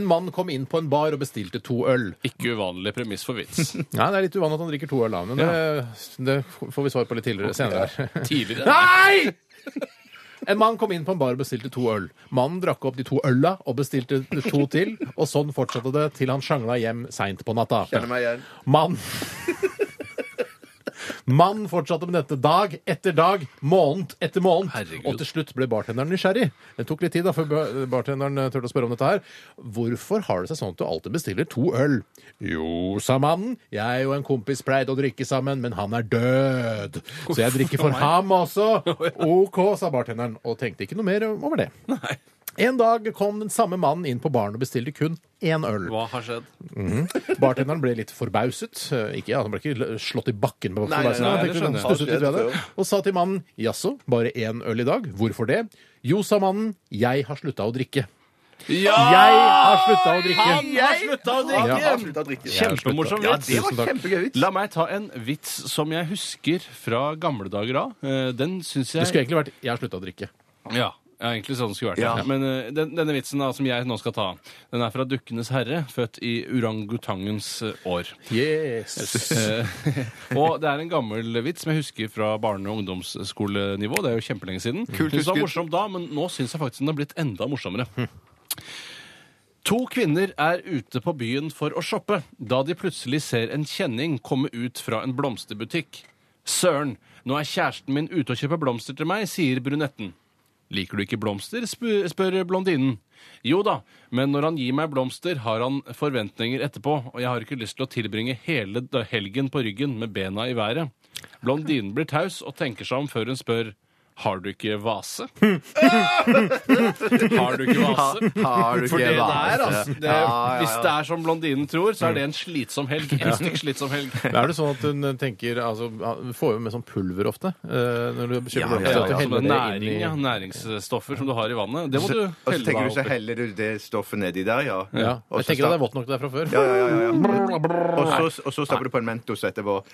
Speaker 3: En mann kom inn på en bar og bestilte to øl.
Speaker 4: Ikke uvanlig premiss for vits.
Speaker 3: Nei, Det er litt uvanlig at han drikker to øl, da, men det, det får vi svar på litt tidligere senere. her.
Speaker 4: Tidligere.
Speaker 3: Nei! En mann kom inn på en bar og bestilte to øl. Mannen drakk opp de to øla og bestilte to til, og sånn fortsatte det til han sjangla hjem seint på natta.
Speaker 5: Kjenner meg igjen.
Speaker 3: Mann Mann fortsatte med dette dag etter dag, måned etter måned.
Speaker 4: Herregud.
Speaker 3: Og til slutt ble bartenderen nysgjerrig. Det tok litt tid da, før ba- bartenderen eh, turte å spørre om dette her. Hvorfor har det seg sånn at du alltid bestiller to øl? Jo, sa mannen. Jeg og en kompis pleide å drikke sammen, men han er død. Så jeg drikker for ham også. OK, sa bartenderen, og tenkte ikke noe mer over det. En dag kom den samme mannen inn på baren og bestilte kun én øl.
Speaker 4: Hva har skjedd?
Speaker 3: Bartenderen ble litt forbauset. Eh, Ikke, ja, han ble ikke l- slått i bakken. På forbausen,
Speaker 4: nei,
Speaker 3: han
Speaker 4: det
Speaker 3: tenkte
Speaker 4: skjønner
Speaker 3: sånn,
Speaker 4: jeg.
Speaker 3: stusset litt ved det. Og sa til mannen 'jaså, bare én øl i dag? Hvorfor det?' Jo, sa mannen, 'jeg har slutta å drikke'.
Speaker 4: Ja!
Speaker 3: Jeg har slutta å drikke!
Speaker 4: Han har slutta å
Speaker 3: Ja.
Speaker 4: drikke!
Speaker 5: Har sluttet å drikke.
Speaker 4: Kjempemorsom
Speaker 5: Ja,
Speaker 4: vits.
Speaker 5: det var kjempegøy. vits.
Speaker 4: La meg ta en vits som jeg husker fra gamle dager av. Eh, Den syns
Speaker 3: Det skulle
Speaker 4: jeg
Speaker 3: egentlig vært 'jeg har slutta å drikke'.
Speaker 4: Ja. Ja, egentlig sånn skulle det vært.
Speaker 5: Ja.
Speaker 4: Ja. Men eh, den, denne vitsen da, som jeg nå skal ta, den er fra Dukkenes herre, født i orangutangens eh, år.
Speaker 3: Yes.
Speaker 4: Eh, [LAUGHS] og det er en gammel vits som jeg husker fra barne- og ungdomsskolenivå. Det er jo kjempelenge siden. Kult, synes det var morsomt da, men nå syns jeg faktisk den har blitt enda morsommere. To kvinner er ute på byen for å shoppe da de plutselig ser en kjenning komme ut fra en blomsterbutikk. Søren, nå er kjæresten min ute og kjøper blomster til meg, sier brunetten. Liker du ikke blomster? spu- spør blondinen. Jo da, men når han gir meg blomster, har han forventninger etterpå, og jeg har ikke lyst til å tilbringe hele da- helgen på ryggen med bena i været. Blondinen blir taus og tenker seg om før hun spør har du ikke
Speaker 5: [LAUGHS]
Speaker 4: vase? har du ikke vase?
Speaker 5: Har du
Speaker 4: For det det
Speaker 5: ikke
Speaker 4: er,
Speaker 5: vase?
Speaker 4: altså. Det, Hvis det er som blondinen tror, så er
Speaker 5: Mm.
Speaker 4: det en slitsom helg. En stygg slitsom helg.
Speaker 3: Er det sånn at hun eh, tenker altså, Hun får jo med sånn pulver ofte eh, når du kjøper blomster,
Speaker 5: ja,
Speaker 3: at du
Speaker 5: ja.
Speaker 4: Som
Speaker 3: heller
Speaker 4: en
Speaker 3: det
Speaker 4: altså,
Speaker 3: inn
Speaker 4: næring,
Speaker 3: i-
Speaker 4: ja, næringsstoffer som du har i vannet. Det må du
Speaker 5: Og så
Speaker 4: helle
Speaker 5: tenker du så
Speaker 4: deg opp i.
Speaker 5: heller du det stoffet nedi der, ja.
Speaker 3: Ja.
Speaker 5: Og
Speaker 3: Jeg
Speaker 5: så
Speaker 3: tenker at det er
Speaker 5: stapp-
Speaker 3: vått nok der fra før.
Speaker 5: Ja, ja, ja, ja. Og så, og så stapper du på en Mentos etterpå.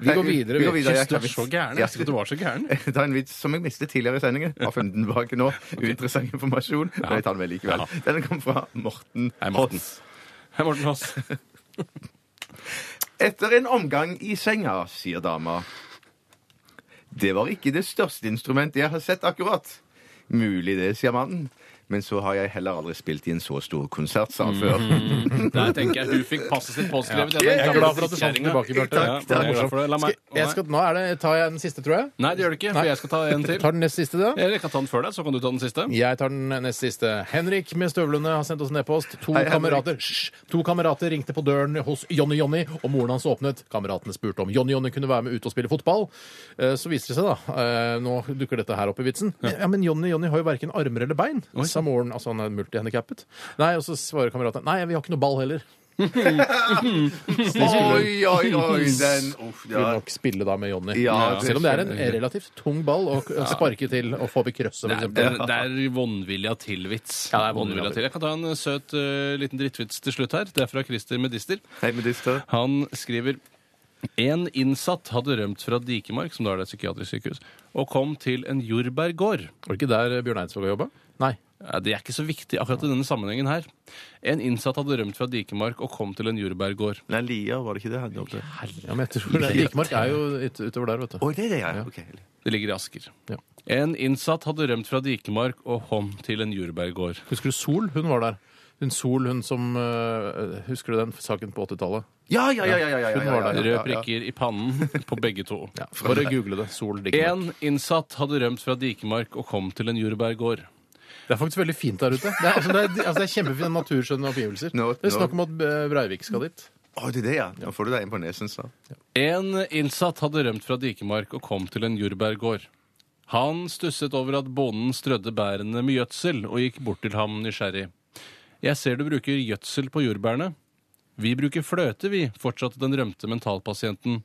Speaker 3: Vi går videre. Vi
Speaker 5: Vi går videre.
Speaker 4: Hvis
Speaker 5: Jeg
Speaker 4: du
Speaker 5: kan
Speaker 4: er så gæren. Jeg
Speaker 5: Ja.
Speaker 4: visste ikke at du var så gæren.
Speaker 5: [LAUGHS] Ta en vits som jeg mistet tidligere i sendingen. Har funnet den bak
Speaker 4: [LAUGHS]
Speaker 5: nå. Uinteressant informasjon. Men jeg tar den med likevel. Den kom fra Morten
Speaker 4: Hei, Morten.
Speaker 5: Hoss.
Speaker 4: Hei, Morten Haas.
Speaker 5: Etter en omgang i senga, sier dama. Det var ikke det største instrumentet jeg har sett akkurat. Mulig det, sier mannen. Men så har jeg heller aldri spilt i en så stor konsertsal [LAUGHS] før.
Speaker 4: Der tenker jeg du fikk passet sitt påskrevet.
Speaker 5: Jeg er
Speaker 3: Jeg er glad for at du sa den tilbake, Bjarte.
Speaker 4: Ja,
Speaker 3: Ja,
Speaker 4: jeg er glad for det. La meg-
Speaker 3: Skal- jeg skal- Nå er det, tar jeg den siste, tror jeg.
Speaker 4: Nei, det gjør du ikke, for jeg skal ta en til.
Speaker 3: [LAUGHS] Tar den nest siste, da?
Speaker 4: Eller jeg kan ta den før deg, så kan du ta den siste.
Speaker 3: Jeg tar den nest siste. Henrik med støvlene har sendt oss en e-post. To,
Speaker 5: Hei, Henrik.
Speaker 3: kamerater- Hysj! to kamerater ringte på døren hos Jonny-Jonny, og moren hans åpnet. Kameratene spurte om Jonny-Jonny kunne være med ut og spille fotball. Eh, Så viser det seg, da eh, Nå dukker dette her opp i vitsen. Ja, men Jonny-Jonny har jo verken armer eller bein, sa moren. Altså, han er multihandikappet. Nei, og så svarer kameratene nei, vi har ikke noe ball heller.
Speaker 5: Oi, oi, oi, den Uff,
Speaker 3: Vil
Speaker 5: ja.
Speaker 3: nok spille da med Jonny.
Speaker 5: Ja, det
Speaker 3: Selv om det er en
Speaker 5: skjønner jeg.
Speaker 3: relativt tung ball å k- sparke til og få opp i krøsset,
Speaker 4: Det
Speaker 3: for
Speaker 4: er,
Speaker 3: eksempel.
Speaker 4: det er- det er vondvilja til-vits.
Speaker 3: Ja, det er vondvilja
Speaker 4: Vondvilja til. Jeg kan ta en eh, søt eh, liten drittvits til slutt her. Det er fra Christer Medister.
Speaker 5: Hei, medister.
Speaker 4: Han skriver en innsatt hadde rømt fra Dikemark, som da er det et psykiatrisk sykehus, og kom til en jordbærgård.
Speaker 3: Var det ikke der Bjørn Eidsvåg har jobba? Nei.
Speaker 4: Ja, Det er ikke så viktig akkurat i denne sammenhengen her. En innsatt hadde rømt fra Dikemark og kom til en jordbærgård.
Speaker 5: Nei, Lia, var det ikke det han jobbet
Speaker 3: Ja, men jeg tror det. Dikemark er jo ut- utover der, vet du.
Speaker 5: Å, det er det, ja. Ok.
Speaker 4: Det ligger i Asker.
Speaker 3: Ja.
Speaker 4: En innsatt hadde rømt fra Dikemark og kom til en jordbærgård.
Speaker 3: Husker du Sol? Hun var der. Hun Sol, hun som øh, Husker du den saken på 80-tallet?
Speaker 5: Ja, ja, ja, ja, ja, ja, ja, ja, ja,
Speaker 4: Røde
Speaker 5: ja, ja.
Speaker 4: prikker i pannen [LAUGHS] på begge to.
Speaker 3: Ja. Bare google det. Sol Dikemark.
Speaker 4: En innsatt hadde rømt fra Dikemark og kom til en jordbærgård.
Speaker 3: Det er faktisk veldig fint der ute. Det er, altså, det er, altså, det er kjempefine naturskjønne omgivelser.
Speaker 5: Nå-
Speaker 3: det er
Speaker 5: nå-
Speaker 3: snakk om at øh, Breivik skal dit.
Speaker 5: Å, det er det, ja. Nå får du deg inn på nesen snart.
Speaker 4: En innsatt hadde rømt fra Dikemark og kom til en jordbærgård. Han stusset over at bonden strødde bærene med gjødsel, og gikk bort til ham nysgjerrig. Jeg ser du bruker gjødsel på jordbærene. Vi bruker fløte, vi, fortsatte den rømte mentalpasienten.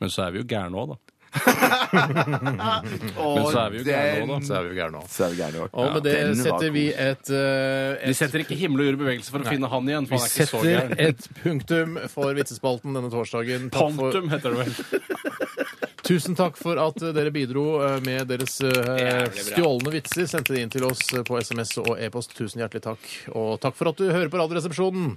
Speaker 4: Men så er vi jo gærne òg, da. Men så er vi jo gærne òg, da.
Speaker 3: Så er vi jo gærne også.
Speaker 5: Så er det gærent også.
Speaker 3: Og med det
Speaker 5: Den var
Speaker 3: setter vi et, eh,
Speaker 4: Vi
Speaker 3: et
Speaker 4: setter ikke himmel og jord i bevegelse for å finne han igjen.
Speaker 3: Vi
Speaker 4: for han er ikke så
Speaker 3: setter
Speaker 4: gæren.
Speaker 3: et punktum for vitsespalten denne torsdagen. Takk
Speaker 4: [LAUGHS]
Speaker 3: for-
Speaker 4: Pontum heter [LAUGHS] det vel.
Speaker 3: Tusen takk for at eh, dere bidro eh, med deres eh,
Speaker 4: Jævlig bra.
Speaker 3: stjålne vitser. Sendte det inn til oss eh, på SMS og e-post. Tusen hjertelig takk. Og takk for at du hører på Radioresepsjonen.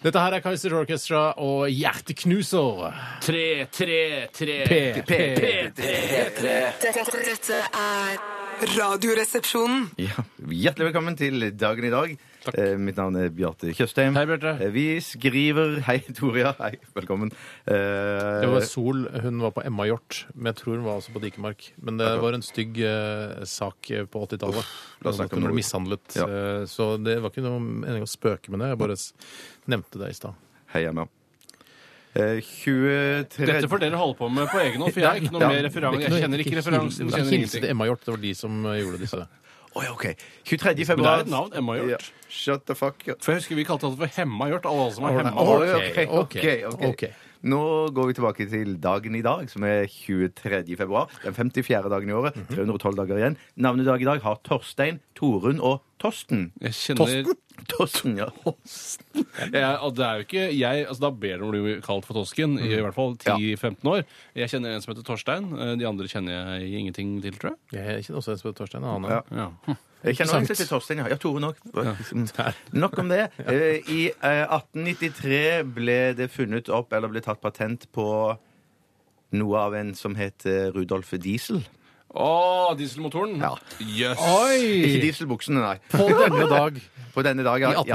Speaker 3: Dette her er Kaiser Orchestra og Hjerteknuser.
Speaker 4: Tre, tre, tre.
Speaker 3: P.
Speaker 1: Dette, dette er Radioresepsjonen.
Speaker 5: Ja. Hjertelig velkommen til dagen i dag. Eh, mitt navn er Bjarte Tjøstheim.
Speaker 4: Hei, Bjarte.
Speaker 5: Eh, vi skriver [LAUGHS] Hei, Toria. Hei, velkommen. Eh,
Speaker 3: Det var Sol. Hun var på Emma Hjort, men jeg tror hun var også på Dikemark. Men det var en stygg eh, sak eh, på 80-tallet.
Speaker 5: la oss snakke om
Speaker 3: Hun
Speaker 5: noe.
Speaker 3: ble mishandlet.
Speaker 5: Ja.
Speaker 3: eh, så det var ikke noe mening å spøke med det. Jeg bare s- nevnte det i stad.
Speaker 5: Hei, Emma. Eh, 23
Speaker 4: Dette får dere holde på med på egen hånd, for jeg har ikke noe mer referanse. Jeg kjenner ikke referansen.
Speaker 3: Ikke
Speaker 4: kjenner
Speaker 3: hilse til
Speaker 4: ingenting.
Speaker 3: Emma Hjort. Det var de som eh, gjorde disse.
Speaker 5: Å ja, OK. 23.
Speaker 4: Men det
Speaker 5: februar
Speaker 4: er et navn, Emma
Speaker 5: Ja.
Speaker 4: Hjort.
Speaker 5: Shut the fuck up.
Speaker 4: For jeg husker vi kalte han for Hemma Hjort. Alle som var
Speaker 3: Alright.
Speaker 4: hemma.
Speaker 3: Alright.
Speaker 5: Oi, ok, ok,
Speaker 3: ok,
Speaker 5: ok.
Speaker 3: ok.
Speaker 5: Nå går vi tilbake til dagen i dag, som er 23. februar. Den 54. dagen i
Speaker 4: Mhm.
Speaker 5: året. 312 dager igjen. Navnedag i dag har Torstein, Torunn og Tosten.
Speaker 4: Jeg kjenner
Speaker 5: Tosten, ja.
Speaker 4: [LAUGHS] jeg, og det er jo ikke jeg, altså Da ber du om å bli kalt for Tosken, i,
Speaker 5: Mm.
Speaker 4: hvert fall 10-15 år. Jeg kjenner en som heter Torstein. eh, De andre kjenner jeg ingenting til, tror jeg.
Speaker 3: Jeg kjenner også en som heter Torstein. En annen.
Speaker 5: Ja.
Speaker 4: Ja.
Speaker 5: Jeg kjenner
Speaker 3: Sant.
Speaker 5: også til Torstein, ja. Ja, Torunn òg. Mm. Nok om det. Eh, I eh, 1893 ble det funnet opp, eller ble tatt patent på noe av en som het eh, Rudolf Diesel.
Speaker 4: Å, dieselmotoren!
Speaker 5: Ja.
Speaker 4: Jøss.
Speaker 5: Ikke
Speaker 3: Oi!
Speaker 5: dieselbuksene, nei.
Speaker 3: På
Speaker 5: [LAUGHS]
Speaker 3: denne dag.
Speaker 5: På denne dag, ja.
Speaker 3: I
Speaker 5: I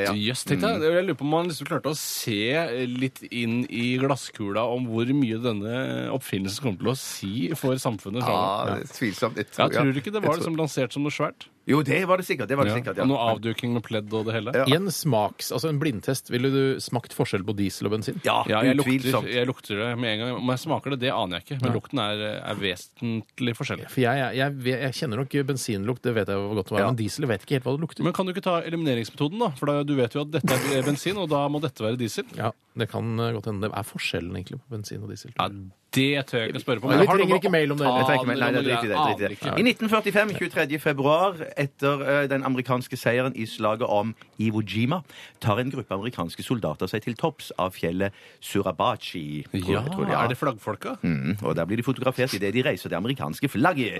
Speaker 3: 1893,
Speaker 5: ja. Mm.
Speaker 4: Jøss, tenk deg. Jeg lurer på om man liksom klarte å se litt inn i glasskula om hvor mye denne oppfinnelsen kommer til å si for samfunnet framover.
Speaker 5: Ja, det er tvilsomt. Jeg
Speaker 4: Jeg tror ikke det
Speaker 5: jeg
Speaker 4: var
Speaker 5: tror-
Speaker 4: liksom lansert som noe svært.
Speaker 5: Jo, det var det sikkert. Det var det
Speaker 4: Ja.
Speaker 5: sikkert, ja.
Speaker 4: Og noe avduking med pledd og det hele.
Speaker 5: Ja.
Speaker 3: I en smaks, altså en blindtest, ville du smakt forskjell på diesel og bensin?
Speaker 5: Ja,
Speaker 4: Ja, jeg lukter,
Speaker 5: utvilsomt.
Speaker 4: jeg lukter det med en gang. Om jeg smaker det, det aner jeg ikke. Men lukten er, er vesentlig forskjellig.
Speaker 3: For jeg, jeg, jeg, vet- jeg kjenner nok bensinlukt, det vet jeg hvor godt det var,
Speaker 5: Ja.
Speaker 3: men diesel jeg vet ikke helt hva det lukter.
Speaker 4: Men kan du ikke ta elimineringsmetoden, da? For da, du vet jo at dette er bensin, og da må dette være diesel.
Speaker 3: Ja, Det kan eh, godt hende. Det er forskjellen egentlig på bensin og diesel.
Speaker 4: Ja, det tør jeg ikke å spørre på.
Speaker 3: Men
Speaker 4: men
Speaker 3: vi
Speaker 4: har du
Speaker 3: trenger
Speaker 4: noe-
Speaker 3: ikke mail om det.
Speaker 4: Ah,
Speaker 5: Jeg trekker meg- Nei, det er
Speaker 4: jeg
Speaker 5: riktig, det. det, er
Speaker 4: aner
Speaker 5: riktig,
Speaker 4: ikke.
Speaker 5: det. I 1945, 23. februar, etter eh, den amerikanske seieren i slaget om Iwo Jima, tar en gruppe amerikanske soldater seg til topps av fjellet Surabachi. tror jeg- tror jeg,
Speaker 4: Ja, er det flaggfolka?
Speaker 5: Mm, og der blir de fotografert idet de reiser det amerikanske flagget.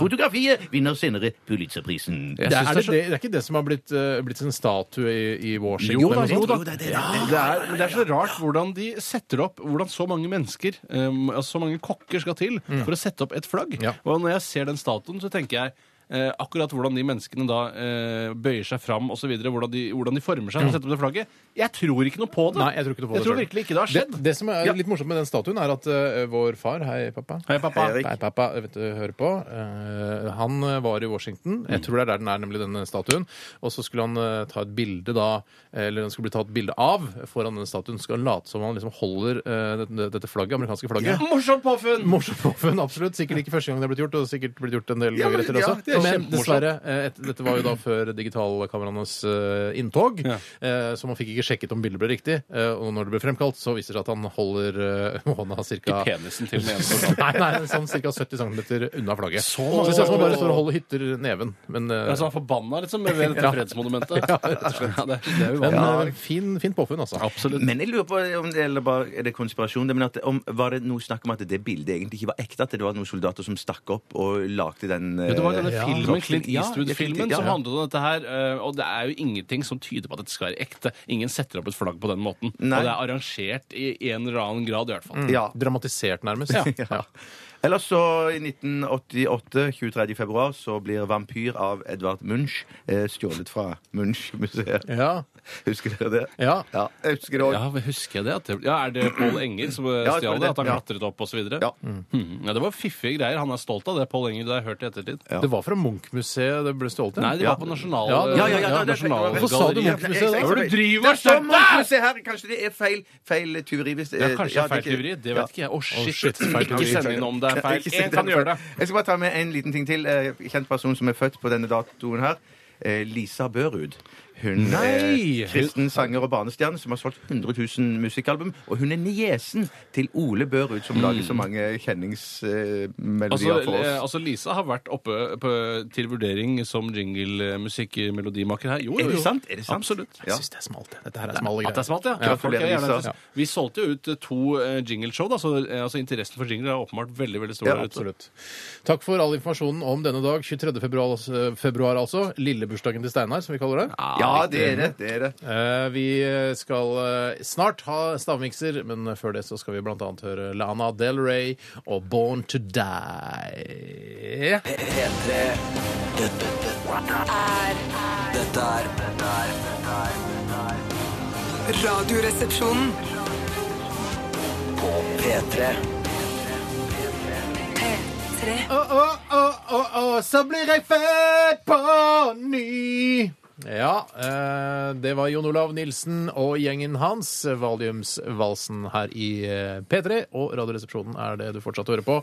Speaker 5: Fotografiet vinner senere Pulitzerprisen.
Speaker 4: Ah. Jeg
Speaker 3: Det
Speaker 4: synes
Speaker 3: er, det,
Speaker 4: så-
Speaker 3: det, det er ikke det som har blitt, eh, blitt en statue i, i Washington?
Speaker 4: Jo da,
Speaker 3: eller noe sånt?
Speaker 4: jo da. Det, er, men det er så rart hvordan de setter opp Hvordan så mange mennesker, um, altså så mange kokker, skal til for å sette opp et flagg.
Speaker 3: Mm. Ja.
Speaker 4: Og når jeg ser den statuen, så tenker jeg eh, akkurat hvordan de menneskene da eh, bøyer seg fram osv. Hvordan, de- hvordan de former seg. når de setter opp det flagget. Jeg tror ikke noe på det.
Speaker 3: Mm. Nei, jeg tror ikke noe på det
Speaker 4: Jeg tror
Speaker 3: selv.
Speaker 4: virkelig ikke det har skjedd.
Speaker 3: Det, det som er litt morsomt med den statuen, er at eh, vår far Hei, pappa.
Speaker 4: Hei, pappa. Hei, Erik.
Speaker 3: Hei, pappa. Jeg Vet du, hører på. Eh, han eh, var i Washington.
Speaker 4: Mm.
Speaker 3: Jeg tror det er der den er, nemlig denne statuen. Og så skulle han eh, ta et bilde da Eller han skulle bli tatt bilde av foran denne statuen. Skal han late som han liksom holder eh, dette, dette flagget, amerikanske flagget.
Speaker 4: Morsomt påfunn!
Speaker 3: Morsomt påfunn, absolutt. Sikkert ikke første gang det er blitt gjort, og sikkert blitt gjort en del
Speaker 4: Ja,
Speaker 3: ganger
Speaker 4: men-
Speaker 3: etter det
Speaker 4: ja,
Speaker 3: også.
Speaker 4: det er
Speaker 3: men
Speaker 4: kjempemorsomt.
Speaker 3: dessverre, eh, et, dette var jo da før digitalkameraenes eh, inntog, eh, så man fikk ikke sjekket om bildet ble riktig. eh, og når det ble fremkalt, så viser det seg at han holder eh, [LAUGHS] hånda cirka...
Speaker 4: I penisen til den ene
Speaker 3: [LAUGHS]
Speaker 4: soldaten.
Speaker 3: Nei, nei, sånn ca. 70 cm unna flagget. Så,
Speaker 4: Så
Speaker 3: det ser ut som han bare står og holder hytter neven. Men, eh,
Speaker 4: Altså, han forbanna liksom ved dette fredsmonumentet.
Speaker 3: Ja, rett og slett.
Speaker 4: Ja, det, det er jo
Speaker 3: men
Speaker 4: vanlig.
Speaker 3: eh, fin, fint påfunn, altså.
Speaker 4: Absolutt.
Speaker 5: Men jeg lurer på om det, eller bare, er det konspirasjon, det, men at, om, var det noe snakk om at det bildet egentlig ikke var ekte? At det var noen soldater som stakk opp og lagde den eh,
Speaker 4: Eh, Ja, det var denne
Speaker 3: Ja.
Speaker 4: filmen, Clint
Speaker 5: Ja,
Speaker 4: Eastwood-filmen
Speaker 5: ja.
Speaker 4: som handlet om dette her. eh, Og det er jo ingenting som tyder på at dette skal være ekte. Ingen setter opp et flagg på den måten.
Speaker 5: Nei. Mm.
Speaker 4: Og det er arrangert i en eller annen grad, i hvert fall.
Speaker 5: Ja.
Speaker 3: Dramatisert nærmest. [LAUGHS]
Speaker 5: Ja. Ellers så, i 1988, 23. februar, så blir Vampyr av Edvard Munch eh, stjålet fra Munch-museet.
Speaker 3: Ja.
Speaker 5: Husker dere det?
Speaker 3: Ja.
Speaker 5: jeg husker det òg.
Speaker 4: Ja, men husker jeg det? At det ja, er det Pål Enger som eh,
Speaker 5: Ja, jeg
Speaker 4: stjal
Speaker 5: tror
Speaker 4: det?
Speaker 5: det.
Speaker 4: At han
Speaker 5: Ja.
Speaker 4: klatret opp osv.?
Speaker 5: Ja.
Speaker 4: Mm, ja, det var fiffige greier. Han er stolt av det, Pål Enger. Det har jeg hørt i ettertid.
Speaker 3: Det var fra Munch-museet det ble stjålet til.
Speaker 4: Nei, det
Speaker 5: Ja.
Speaker 4: var på nasjonal...
Speaker 3: Ja, det-
Speaker 5: Ja, ja, ja, ja, det-
Speaker 4: nasjonal
Speaker 3: Hvorfor sa du
Speaker 4: galleri.
Speaker 3: Munch-museet da?
Speaker 4: Hva er det du driver
Speaker 5: Det
Speaker 4: og
Speaker 5: står
Speaker 4: skjønner?
Speaker 5: Munch-museet her! Kanskje det er feil, feil tyveri? Hvis,
Speaker 4: Ja, kanskje det er feil
Speaker 5: ikke-
Speaker 4: teori. Det vet ikke jeg. Å, shit.
Speaker 3: shit, feil
Speaker 4: Ikke
Speaker 3: teori.
Speaker 4: send inn om det er er feil.
Speaker 5: Ikke si
Speaker 4: Én
Speaker 5: det
Speaker 4: kan
Speaker 5: er
Speaker 4: gjøre
Speaker 5: feil.
Speaker 4: det.
Speaker 5: Jeg skal bare ta med en liten ting til. Eh, Kjent person som er født på denne datoen her. eh, Lisa Børud. Hun
Speaker 4: Nei!
Speaker 5: er kristen sanger og barnestjerne som har solgt 100 000 musikkalbum. Og hun er niesen til Ole Børud, som lager så mange kjenningsmelodier
Speaker 4: Mm. Altså,
Speaker 5: for
Speaker 4: eh,
Speaker 5: oss.
Speaker 4: altså Lisa har vært oppe på, til vurdering som jinglemusikkmelodimaker her. Jo, jo,
Speaker 5: Er det
Speaker 4: jo.
Speaker 5: sant? Er det sant?
Speaker 4: Absolutt.
Speaker 5: Ja.
Speaker 3: Jeg syns det er smalt. det. Dette her er smale
Speaker 4: At det er
Speaker 3: greier.
Speaker 4: smalt, ja.
Speaker 5: Ja,
Speaker 4: Folk er
Speaker 5: gratulerer,
Speaker 4: gjerne
Speaker 5: Lisa.
Speaker 4: interessert. Vi solgte jo ut eh, to eh, jingleshow, da, så eh, altså, interessen for jingler er åpenbart veldig veldig stor.
Speaker 5: Ja,
Speaker 4: der ute.
Speaker 3: Absolutt. Takk for all informasjonen om denne dag, 23. februar, altså- februar altså. Lillebursdagen til Steinar, som vi kaller det.
Speaker 5: Ja, det er det. det, er det.
Speaker 3: Eh, Vi skal eh, snart ha stavmikser, men før det så skal vi blant annet høre Lana Del Rey og Born to Die.
Speaker 2: P3. Dette, dette, dette er Dette er
Speaker 1: Radioresepsjonen.
Speaker 2: på P3.
Speaker 1: P3.
Speaker 3: Å, å, å, å, å, så blir jeg født på ny. Ja, eh, det var Jon Olav Nilsen og gjengen hans, Valiumsvalsen her i eh, P3. Og Radioresepsjonen er det du fortsatt hører på.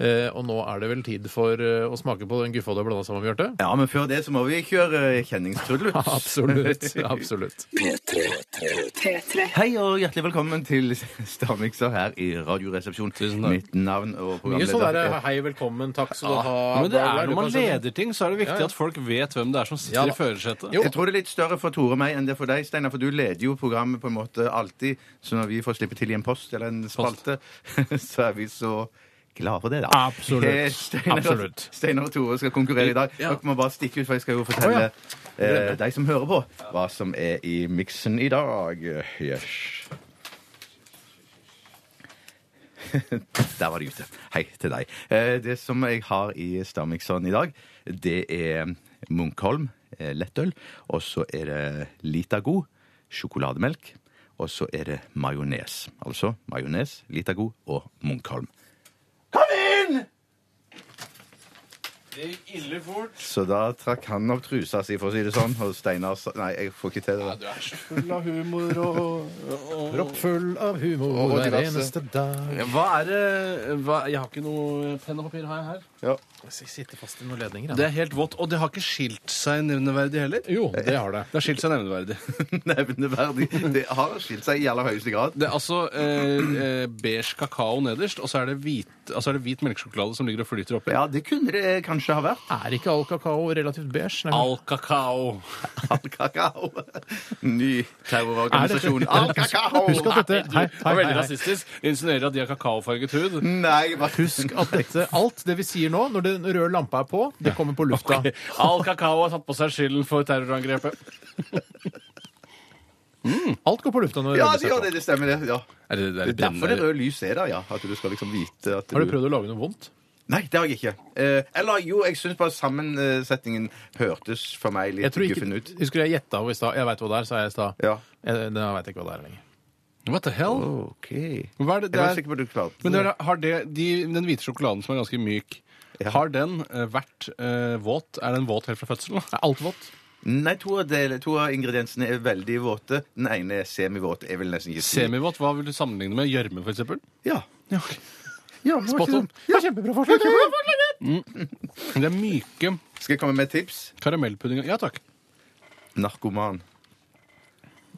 Speaker 3: Eh, og nå er det vel tid for eh, å smake på den guffa du har blanda sammen med Bjarte?
Speaker 5: Ja, men før det så må vi kjøre eh,
Speaker 4: [LAUGHS]
Speaker 5: kjenningstrudel.
Speaker 3: [LAUGHS] [LAUGHS] Absolutt. absolutt.
Speaker 2: P3.
Speaker 1: P3.
Speaker 5: [LAUGHS] Hei og hjertelig velkommen til Stavmikser her i Radioresepsjonen.
Speaker 4: Tusen takk.
Speaker 5: Mitt navn og
Speaker 3: Mye
Speaker 5: programleder
Speaker 3: sånn
Speaker 4: eh,
Speaker 3: derre hei, velkommen, takk skal du ha.
Speaker 4: Men det
Speaker 3: bla, bla,
Speaker 4: er når man
Speaker 3: du kan sende-
Speaker 4: leder ting, så er det viktig
Speaker 3: Ja, ja.
Speaker 4: at folk vet hvem det er som sitter
Speaker 3: Ja, da.
Speaker 4: i førersetet.
Speaker 3: Jo.
Speaker 5: Jeg tror det er litt større for Tore og meg enn det er for deg, Steinar, for du leder jo programmet på en måte alltid, så når vi får slippe til i en post eller en spalte, [LAUGHS] så er vi så glad for det, da.
Speaker 3: Absolutt.
Speaker 5: Eh, Steinar,
Speaker 3: Absolutt.
Speaker 5: Steinar og Tore skal konkurrere i dag.
Speaker 4: Ja.
Speaker 5: Dere må bare stikke ut, for jeg skal jo fortelle eh, deg som hører på, hva som er i miksen i dag. Yes. Der var det ute. Hei til deg. Eh, det som jeg har i Stamikson i dag, det er Munkholm eh, lettøl, og så er det Litago sjokolademelk, og så er det majones. Altså majones, Litago og Munkholm. Kom inn!
Speaker 4: Det gikk ille fort.
Speaker 5: Så da trakk han opp trusa si, for å si det sånn, og Steinar sa Nei, jeg får ikke til det.
Speaker 4: Du er så full av humor og, og
Speaker 3: Proppfull av humor
Speaker 5: Og
Speaker 3: hver
Speaker 5: diverse.
Speaker 3: eneste dag.
Speaker 4: Ja, Hva er det hva, Jeg har ikke noe penn og papir har jeg her.
Speaker 3: Jeg sitter fast i noen ledninger.
Speaker 4: Det er helt vått, og det har ikke skilt seg nevneverdig heller.
Speaker 3: Jo, det har det.
Speaker 4: Det har skilt seg nevneverdig.
Speaker 5: [LAUGHS] Nevneverdig. Det har skilt seg i aller høyeste grad.
Speaker 4: Det er altså eh, eh, beige kakao nederst, og så er det hvit, altså er det hvit melkesjokolade som ligger og flyter oppi.
Speaker 5: Ja, det kunne det kanskje ha vært.
Speaker 3: Er ikke all kakao relativt beige? Nei,
Speaker 4: All kakao.
Speaker 5: All kakao. Ny terrororganisasjon. All kakao!
Speaker 3: Husk at dette Hei,
Speaker 4: Det
Speaker 3: hei,
Speaker 4: var veldig
Speaker 3: hei, Mm. hei.
Speaker 4: rasistisk. Det Insinuerer at de har kakaofarget hud.
Speaker 5: Nei, hva
Speaker 3: Husk at dette, alt det vi sier nå, når den røde lampa er på, det kommer på lufta.
Speaker 4: All kakao har tatt på seg skylden for terrorangrepet.
Speaker 3: Alt går på lufta når det
Speaker 5: Ja,
Speaker 3: røde
Speaker 5: det gjør
Speaker 3: ser på.
Speaker 5: det. Det stemmer, det. ja.
Speaker 4: Er det,
Speaker 5: Det er derfor det røde lyset er der, ja. At du skal liksom vite at
Speaker 3: Har du prøvd å lage noe vondt?
Speaker 5: Nei, det har jeg ikke. Eh, eller jo, jeg syns bare sammensetningen hørtes for meg
Speaker 3: Jeg
Speaker 5: litt
Speaker 3: tror ikke,
Speaker 5: guffen ut.
Speaker 3: Husker du jeg gjetta i stad? Jeg veit hva det er, sa jeg i stad. Eh,
Speaker 5: Ja.
Speaker 3: Jeg, jeg veit ikke hva det er lenger.
Speaker 4: What the hell?
Speaker 5: OK. Jeg
Speaker 4: Hva er det, det
Speaker 5: var
Speaker 4: er,
Speaker 5: sikker på at du klarte
Speaker 4: men det er, har det, de, den hvite sjokoladen som er ganske myk, har den eh, vært eh, våt? Er den våt helt fra fødselen?
Speaker 3: Er alt vått?
Speaker 5: Nei, to av, del, to av ingrediensene er veldig våte. Den ene er semivåt. Jeg vil nesten ikke si
Speaker 4: Semivåt, hva vil du sammenligne med? Gjørme, for eksempel?
Speaker 5: Ja.
Speaker 4: Ja,
Speaker 5: ja men det
Speaker 4: Spot
Speaker 5: var ikke
Speaker 4: on.
Speaker 5: dumt.
Speaker 3: Ja, kjempebra forslag! kjempebra forslag.
Speaker 4: Mm. Det er myke
Speaker 5: Skal jeg komme med et tips?
Speaker 4: karamellpuddinger. Ja takk.
Speaker 5: Narkoman.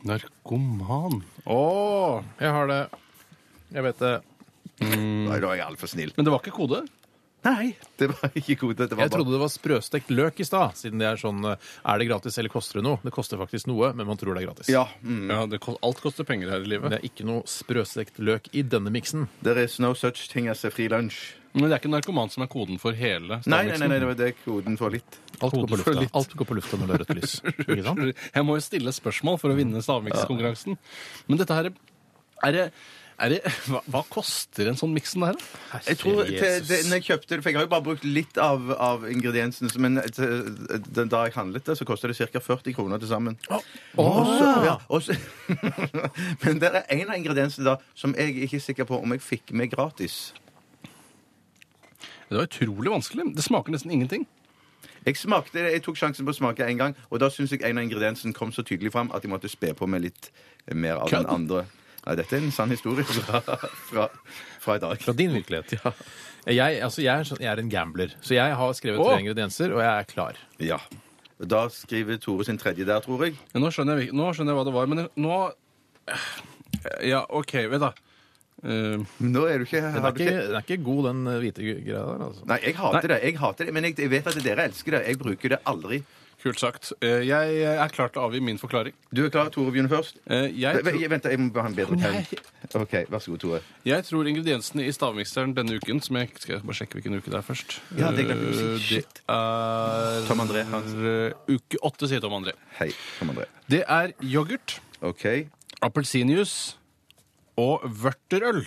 Speaker 4: Narkoman.
Speaker 3: Å, jeg har det. Jeg vet det.
Speaker 5: Nei, da er jeg altfor snill.
Speaker 4: Men det var ikke kode?
Speaker 5: Nei, det var ikke god. Det var
Speaker 3: Jeg trodde det var sprøstekt løk i stad, siden det er sånn eh, Er det gratis, eller koster det noe? Det koster faktisk noe, men man tror det er gratis.
Speaker 5: Ja. Mm.
Speaker 4: Ja, det, ko- Alt koster penger her i livet.
Speaker 3: Det er ikke noe sprøstekt løk i denne miksen.
Speaker 5: There is no such thing as a free lunch.
Speaker 4: Men det er ikke narkoman som er koden for hele
Speaker 5: Nei, nei, nei,
Speaker 4: stavmiksen.
Speaker 5: det var det koden for litt.
Speaker 3: Alt går på
Speaker 4: Hodet for
Speaker 3: lufta,
Speaker 4: litt.
Speaker 3: Alt går på lufta når det er rødt lys. Ikke sant?
Speaker 4: Jeg må jo stille spørsmål for å vinne stavmikskonkurransen. Men dette her er det, er det, hva, hva koster en sånn miksen der? da?
Speaker 5: Jeg tror til,
Speaker 3: Jesus.
Speaker 5: det, når jeg kjøpte det, for jeg har jo bare brukt litt av, av ingrediensene, så- men til, eh, den, da jeg handlet det, så kostet det ca. 40 kroner til sammen. Og så- ja, og så- [LAUGHS] men det er en av ingrediensene da som jeg ikke er sikker på om jeg fikk med gratis.
Speaker 4: Det var utrolig vanskelig. Det smaker nesten ingenting.
Speaker 5: Jeg smakte det, jeg tok sjansen på å smake en gang, og da syns jeg en av ingrediensene kom så tydelig fram at jeg måtte spe på med litt eh, mer av den
Speaker 4: Kødd.
Speaker 5: andre. Nei, dette er en sann historie [LAUGHS] fra, fra, fra i dag.
Speaker 3: Fra din virkelighet. Jeg, altså, jeg, er, sånn- jeg er en gambler, så jeg har skrevet
Speaker 4: Å!
Speaker 3: tre ingredienser, og jeg er klar.
Speaker 5: Ja. Da skriver Tore sin tredje der, tror jeg.
Speaker 4: Ja, Nå skjønner jeg, hvil- nå skjønner jeg hva det var, men nå Ja, OK, vet da. Eh,
Speaker 5: Nå er du ikke,
Speaker 3: Den
Speaker 5: har
Speaker 3: er
Speaker 5: du
Speaker 3: ikke,
Speaker 5: ikke
Speaker 3: den er ikke god, den eh, hvite greia der. altså.
Speaker 5: Nei, jeg hater det. jeg hater det, Men jeg, jeg vet at dere elsker det. Jeg bruker det aldri.
Speaker 4: kult sagt. Eh, jeg er klar til å avgi min forklaring.
Speaker 5: Du er klar, Tore Bjørn først?
Speaker 4: Eh, jeg,
Speaker 5: Vent,
Speaker 4: tror,
Speaker 5: vent, jeg må ha en bedre penn. OK, vær så god, Tore.
Speaker 4: jeg tror ingrediensene i stavmikseren denne uken som jeg, Skal jeg bare sjekke hvilken uke det er først?
Speaker 5: Ja, det glemte jeg å si.
Speaker 4: Eh,
Speaker 5: Shit.
Speaker 4: Det er
Speaker 5: Tom André Hansen.
Speaker 4: eh, Uke åtte, sier Tom André.
Speaker 5: Hei, Tom André.
Speaker 4: Det er yoghurt,
Speaker 5: OK. eh,
Speaker 4: appelsinjuice og vørterøl.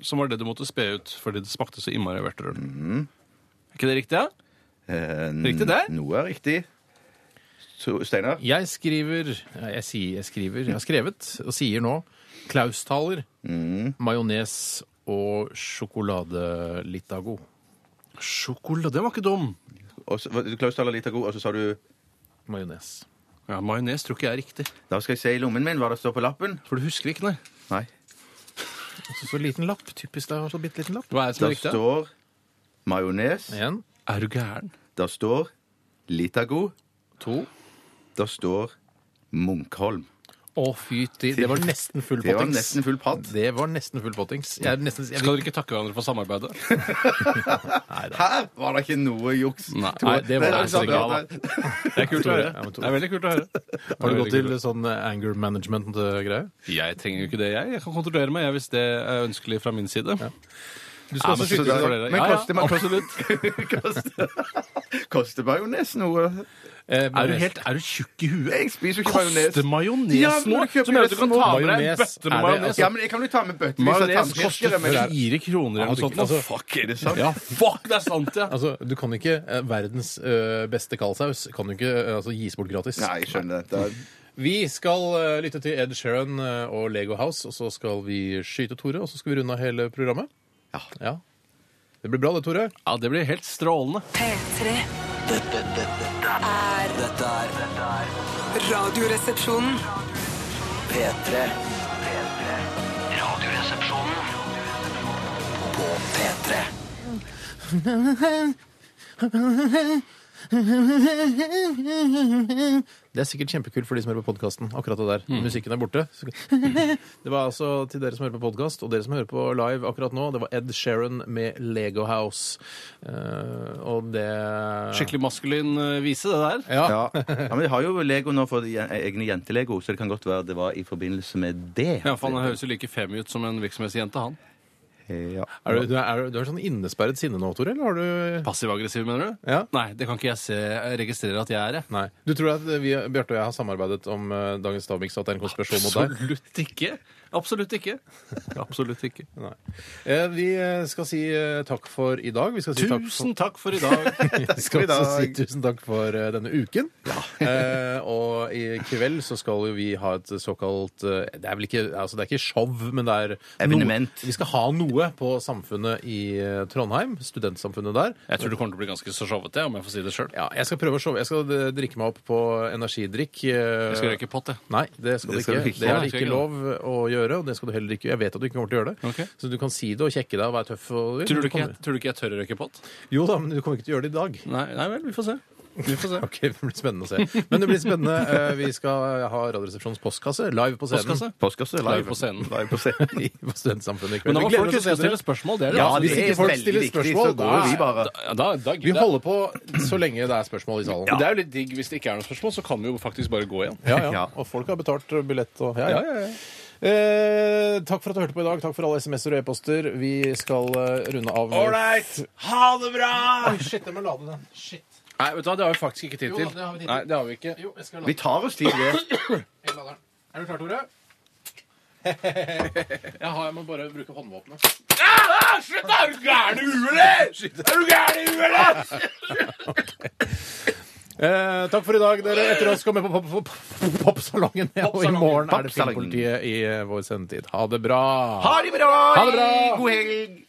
Speaker 4: Som var det du måtte spe ut fordi det smakte så innmari vørterøl.
Speaker 5: Mhm.
Speaker 4: Er ikke det riktig? Ja?
Speaker 5: Eh,
Speaker 4: Riktig der?
Speaker 5: Noe er riktig. Så, Steinar?
Speaker 3: Jeg skriver ja, jeg, sier, jeg skriver, jeg har skrevet og sier nå klaustaler, Mm. majones og sjokoladelittago.
Speaker 4: Sjokolade, den var ikke dum.
Speaker 5: Og så- hva- Klaus Thaler Litago, og så sa du
Speaker 3: Majones.
Speaker 4: Ja, Majones tror ikke jeg er riktig.
Speaker 5: Da skal jeg se i lommen min hva det står på lappen.
Speaker 4: For du husker ikke, nei.
Speaker 5: Nei.
Speaker 3: Så, så liten lapp. Typisk deg å ha så bitte liten lapp.
Speaker 4: Hva er det som
Speaker 5: Der
Speaker 4: er riktig? da?
Speaker 5: står majones.
Speaker 3: Én,
Speaker 4: Er du gæren?
Speaker 5: Der står Litago.
Speaker 3: to
Speaker 5: Der står Munkholm.
Speaker 3: Å, fytti. [LAUGHS] Det var nesten full
Speaker 5: Det var
Speaker 3: pottings.
Speaker 5: nesten full patt.
Speaker 3: Det var nesten full pottings. Jeg er nesten jeg,
Speaker 4: Skal dere ikke takke hverandre for samarbeidet?
Speaker 5: Her var det ikke noe juks.
Speaker 4: Nei,
Speaker 3: Nei, det var
Speaker 5: Nei,
Speaker 3: det
Speaker 5: sant,
Speaker 3: ikke.
Speaker 5: ja, det-
Speaker 4: Det er kult å høre.
Speaker 3: Ja, men Tore.
Speaker 4: Det er veldig kult å høre.
Speaker 3: Har
Speaker 4: Det
Speaker 3: du
Speaker 4: er
Speaker 3: gått
Speaker 4: veldig
Speaker 3: til
Speaker 4: kult.
Speaker 3: sånn eh, anger eh, management-greie?
Speaker 4: Jeg trenger jo ikke det, jeg. Jeg kan kontrollere meg jeg, hvis det er ønskelig fra min side.
Speaker 3: Du skal også
Speaker 4: men så
Speaker 3: skyte
Speaker 4: da-
Speaker 3: for dere.
Speaker 4: men
Speaker 3: Ja, ja,
Speaker 4: koster [LAUGHS] man-
Speaker 3: absolutt.
Speaker 5: [LAUGHS] Koster- Koster majones noe?
Speaker 3: Eh,
Speaker 4: Er du helt er du tjukk i huet?
Speaker 5: Jeg spiser jo ikke majones.
Speaker 4: Koster
Speaker 5: Ja,
Speaker 4: majones
Speaker 5: men
Speaker 4: nå?
Speaker 5: du kjøper
Speaker 4: Som gjør at du kan ta med deg en bøtte
Speaker 3: majones.
Speaker 4: med
Speaker 3: Er det-
Speaker 4: majones?
Speaker 3: altså-
Speaker 5: Ja, men jeg kan jo ta med bøtter. hvis jeg
Speaker 4: Majones
Speaker 5: tar
Speaker 4: koster
Speaker 5: med tannpirkere, men-
Speaker 4: fire kroner eller noe sånt.
Speaker 3: ikke- altså-
Speaker 4: fuck,
Speaker 5: Er det sant?
Speaker 4: Ja, fuck, det er sant, ja.
Speaker 3: Altså, Du kan ikke eh, verdens eh, beste kaldsaus kan du ikke eh, altså, gis bort gratis.
Speaker 5: Nei, jeg skjønner det. Da-
Speaker 3: Vi skal eh, lytte til Ed Sheeran eh, og Lego House, og så skal vi skyte Tore, og så skal vi runde av hele programmet.
Speaker 5: Ja.
Speaker 3: Det blir bra det, [LAUGHS] Tore.
Speaker 4: Ja, Det blir helt strålende.
Speaker 1: P3.
Speaker 2: Dette, dette, dette er Dette er dette er
Speaker 1: Radioresepsjonen.
Speaker 2: P3. P3. Radioresepsjonen på P3.
Speaker 3: Det er sikkert kjempekult for de som hører på podkasten. Akkurat det der. Musikken er [LAUGHS] borte. Så- Det var altså til dere som hører på podkast, og dere som hører på live akkurat nå, det var Ed Sheeran med Lego House. Eh, og det
Speaker 4: Skikkelig maskulin eh, vise, det der.
Speaker 3: Ja.
Speaker 5: Ja. ja, men de har jo Lego nå for de egne jentelego, så det kan godt være det var i forbindelse med det.
Speaker 4: Ja, for Han høres jo like femi ut som en virksomhetsjente, han.
Speaker 5: Ja.
Speaker 3: Er du, du, er, er du- du er sånn innesperret sinne nå, Tore? Eller har du
Speaker 4: Passiv-aggressiv, mener du?
Speaker 3: Ja.
Speaker 4: Nei, det kan ikke jeg se, registrere at jeg er. jeg.
Speaker 3: Nei. Du tror at vi, Bjarte og jeg har samarbeidet om eh, dagens stavmiks, og at det er en konspirasjon mot deg?
Speaker 4: Absolutt ikke. Absolutt ikke. Absolutt ikke.
Speaker 3: Nei. Eh, vi eh, skal si eh, takk for i dag. Vi skal si takk for
Speaker 4: Tusen takk for i
Speaker 3: [LAUGHS]
Speaker 4: dag.
Speaker 3: Jeg skal
Speaker 5: for i dag.
Speaker 3: også si tusen takk for eh, denne uken. eh, og i kveld så skal jo vi ha et såkalt eh, Det er vel ikke, altså det er ikke show, men det er
Speaker 5: Evenement.
Speaker 3: Noe, vi skal ha noe på Samfunnet i eh, Trondheim. Studentsamfunnet der.
Speaker 4: Jeg tror det kommer til å bli ganske så showete, om jeg får si det sjøl.
Speaker 3: Ja, jeg skal prøve å showe. Jeg skal eh, drikke meg opp på energidrikk. eh,
Speaker 4: Jeg skal røyke pott, jeg.
Speaker 3: Nei, det skal,
Speaker 5: Det skal
Speaker 3: du
Speaker 5: du
Speaker 3: ikke.
Speaker 5: ikke.
Speaker 3: Det er
Speaker 4: Nei,
Speaker 3: det
Speaker 4: skal
Speaker 3: ikke
Speaker 4: ikke
Speaker 3: lov å gjøre. og det skal du heller ikke. Jeg vet at du ikke kommer til å gjøre det.
Speaker 4: Ok.
Speaker 3: Så du kan si det og kjekke deg og være tøff. Og,
Speaker 4: Tror du ikke
Speaker 3: kommer-
Speaker 4: jeg, tror du ikke jeg tør å røyke pott?
Speaker 3: Jo da, men du kommer ikke til å gjøre det i dag.
Speaker 4: Nei, nei vel, vi får se. Vi
Speaker 3: [LAUGHS]
Speaker 4: får se.
Speaker 3: Ok, Det blir spennende å se. Men det blir spennende. Eh, Vi skal ha Radioresepsjonens postkasse live på scenen.
Speaker 4: Postkasse?
Speaker 5: Postkasse
Speaker 4: Live på scenen.
Speaker 5: Live på scenen. [LAUGHS]
Speaker 3: I- På Studentsamfunnet i kveld.
Speaker 4: Men da
Speaker 3: Vi
Speaker 4: må
Speaker 3: gleder
Speaker 4: folk huske
Speaker 3: oss
Speaker 4: å
Speaker 3: til
Speaker 4: stille
Speaker 3: det.
Speaker 4: spørsmål. Det er det.
Speaker 3: Ja,
Speaker 5: det
Speaker 3: hvis ikke
Speaker 5: er
Speaker 3: folk
Speaker 5: veldig
Speaker 3: stiller
Speaker 5: viktig,
Speaker 3: spørsmål,
Speaker 5: så går jo vi
Speaker 3: da
Speaker 5: bare.
Speaker 4: Da, da, da
Speaker 3: Vi holder på så lenge det er spørsmål i salen.
Speaker 4: Det er jo litt digg hvis det ikke er noe spørsmål, så kan vi jo faktisk bare gå igjen.
Speaker 3: Ja, ja.
Speaker 5: Ja.
Speaker 3: Og folk har betalt billett og ja, ja. Eh, takk for at du hørte på i dag. Takk for alle SMS-er og e-poster. Vi skal eh, runde av.
Speaker 4: Ålreit! Ha det bra!
Speaker 3: Oi, shit, jeg må lade den. Shit.
Speaker 4: Nei, vet du hva, det har vi faktisk ikke tid
Speaker 3: Jo da,
Speaker 4: til.
Speaker 3: det har vi tid til.
Speaker 4: Nei, det har vi ikke.
Speaker 3: Jo, jeg skal
Speaker 5: Vi
Speaker 3: lade
Speaker 5: tar oss tid, vi.
Speaker 3: Jeg lader den. Er du klar,
Speaker 4: [LAUGHS]
Speaker 3: Tore? jeg, har, jeg må bare bruke håndvåpenet.
Speaker 4: Slutt, da! Er du gæren i huet, eller?! Er du gæren i huet, eller?!
Speaker 3: Eh, takk for i dag, dere. Etter oss kommer vi på pop- pop- popsalongen. og i morgen er det
Speaker 5: Popsalongen.
Speaker 3: Filmpolitiet i eh, vår sendetid. Ha det bra!
Speaker 5: Ha det bra!
Speaker 3: Ha det bra!
Speaker 5: God helg!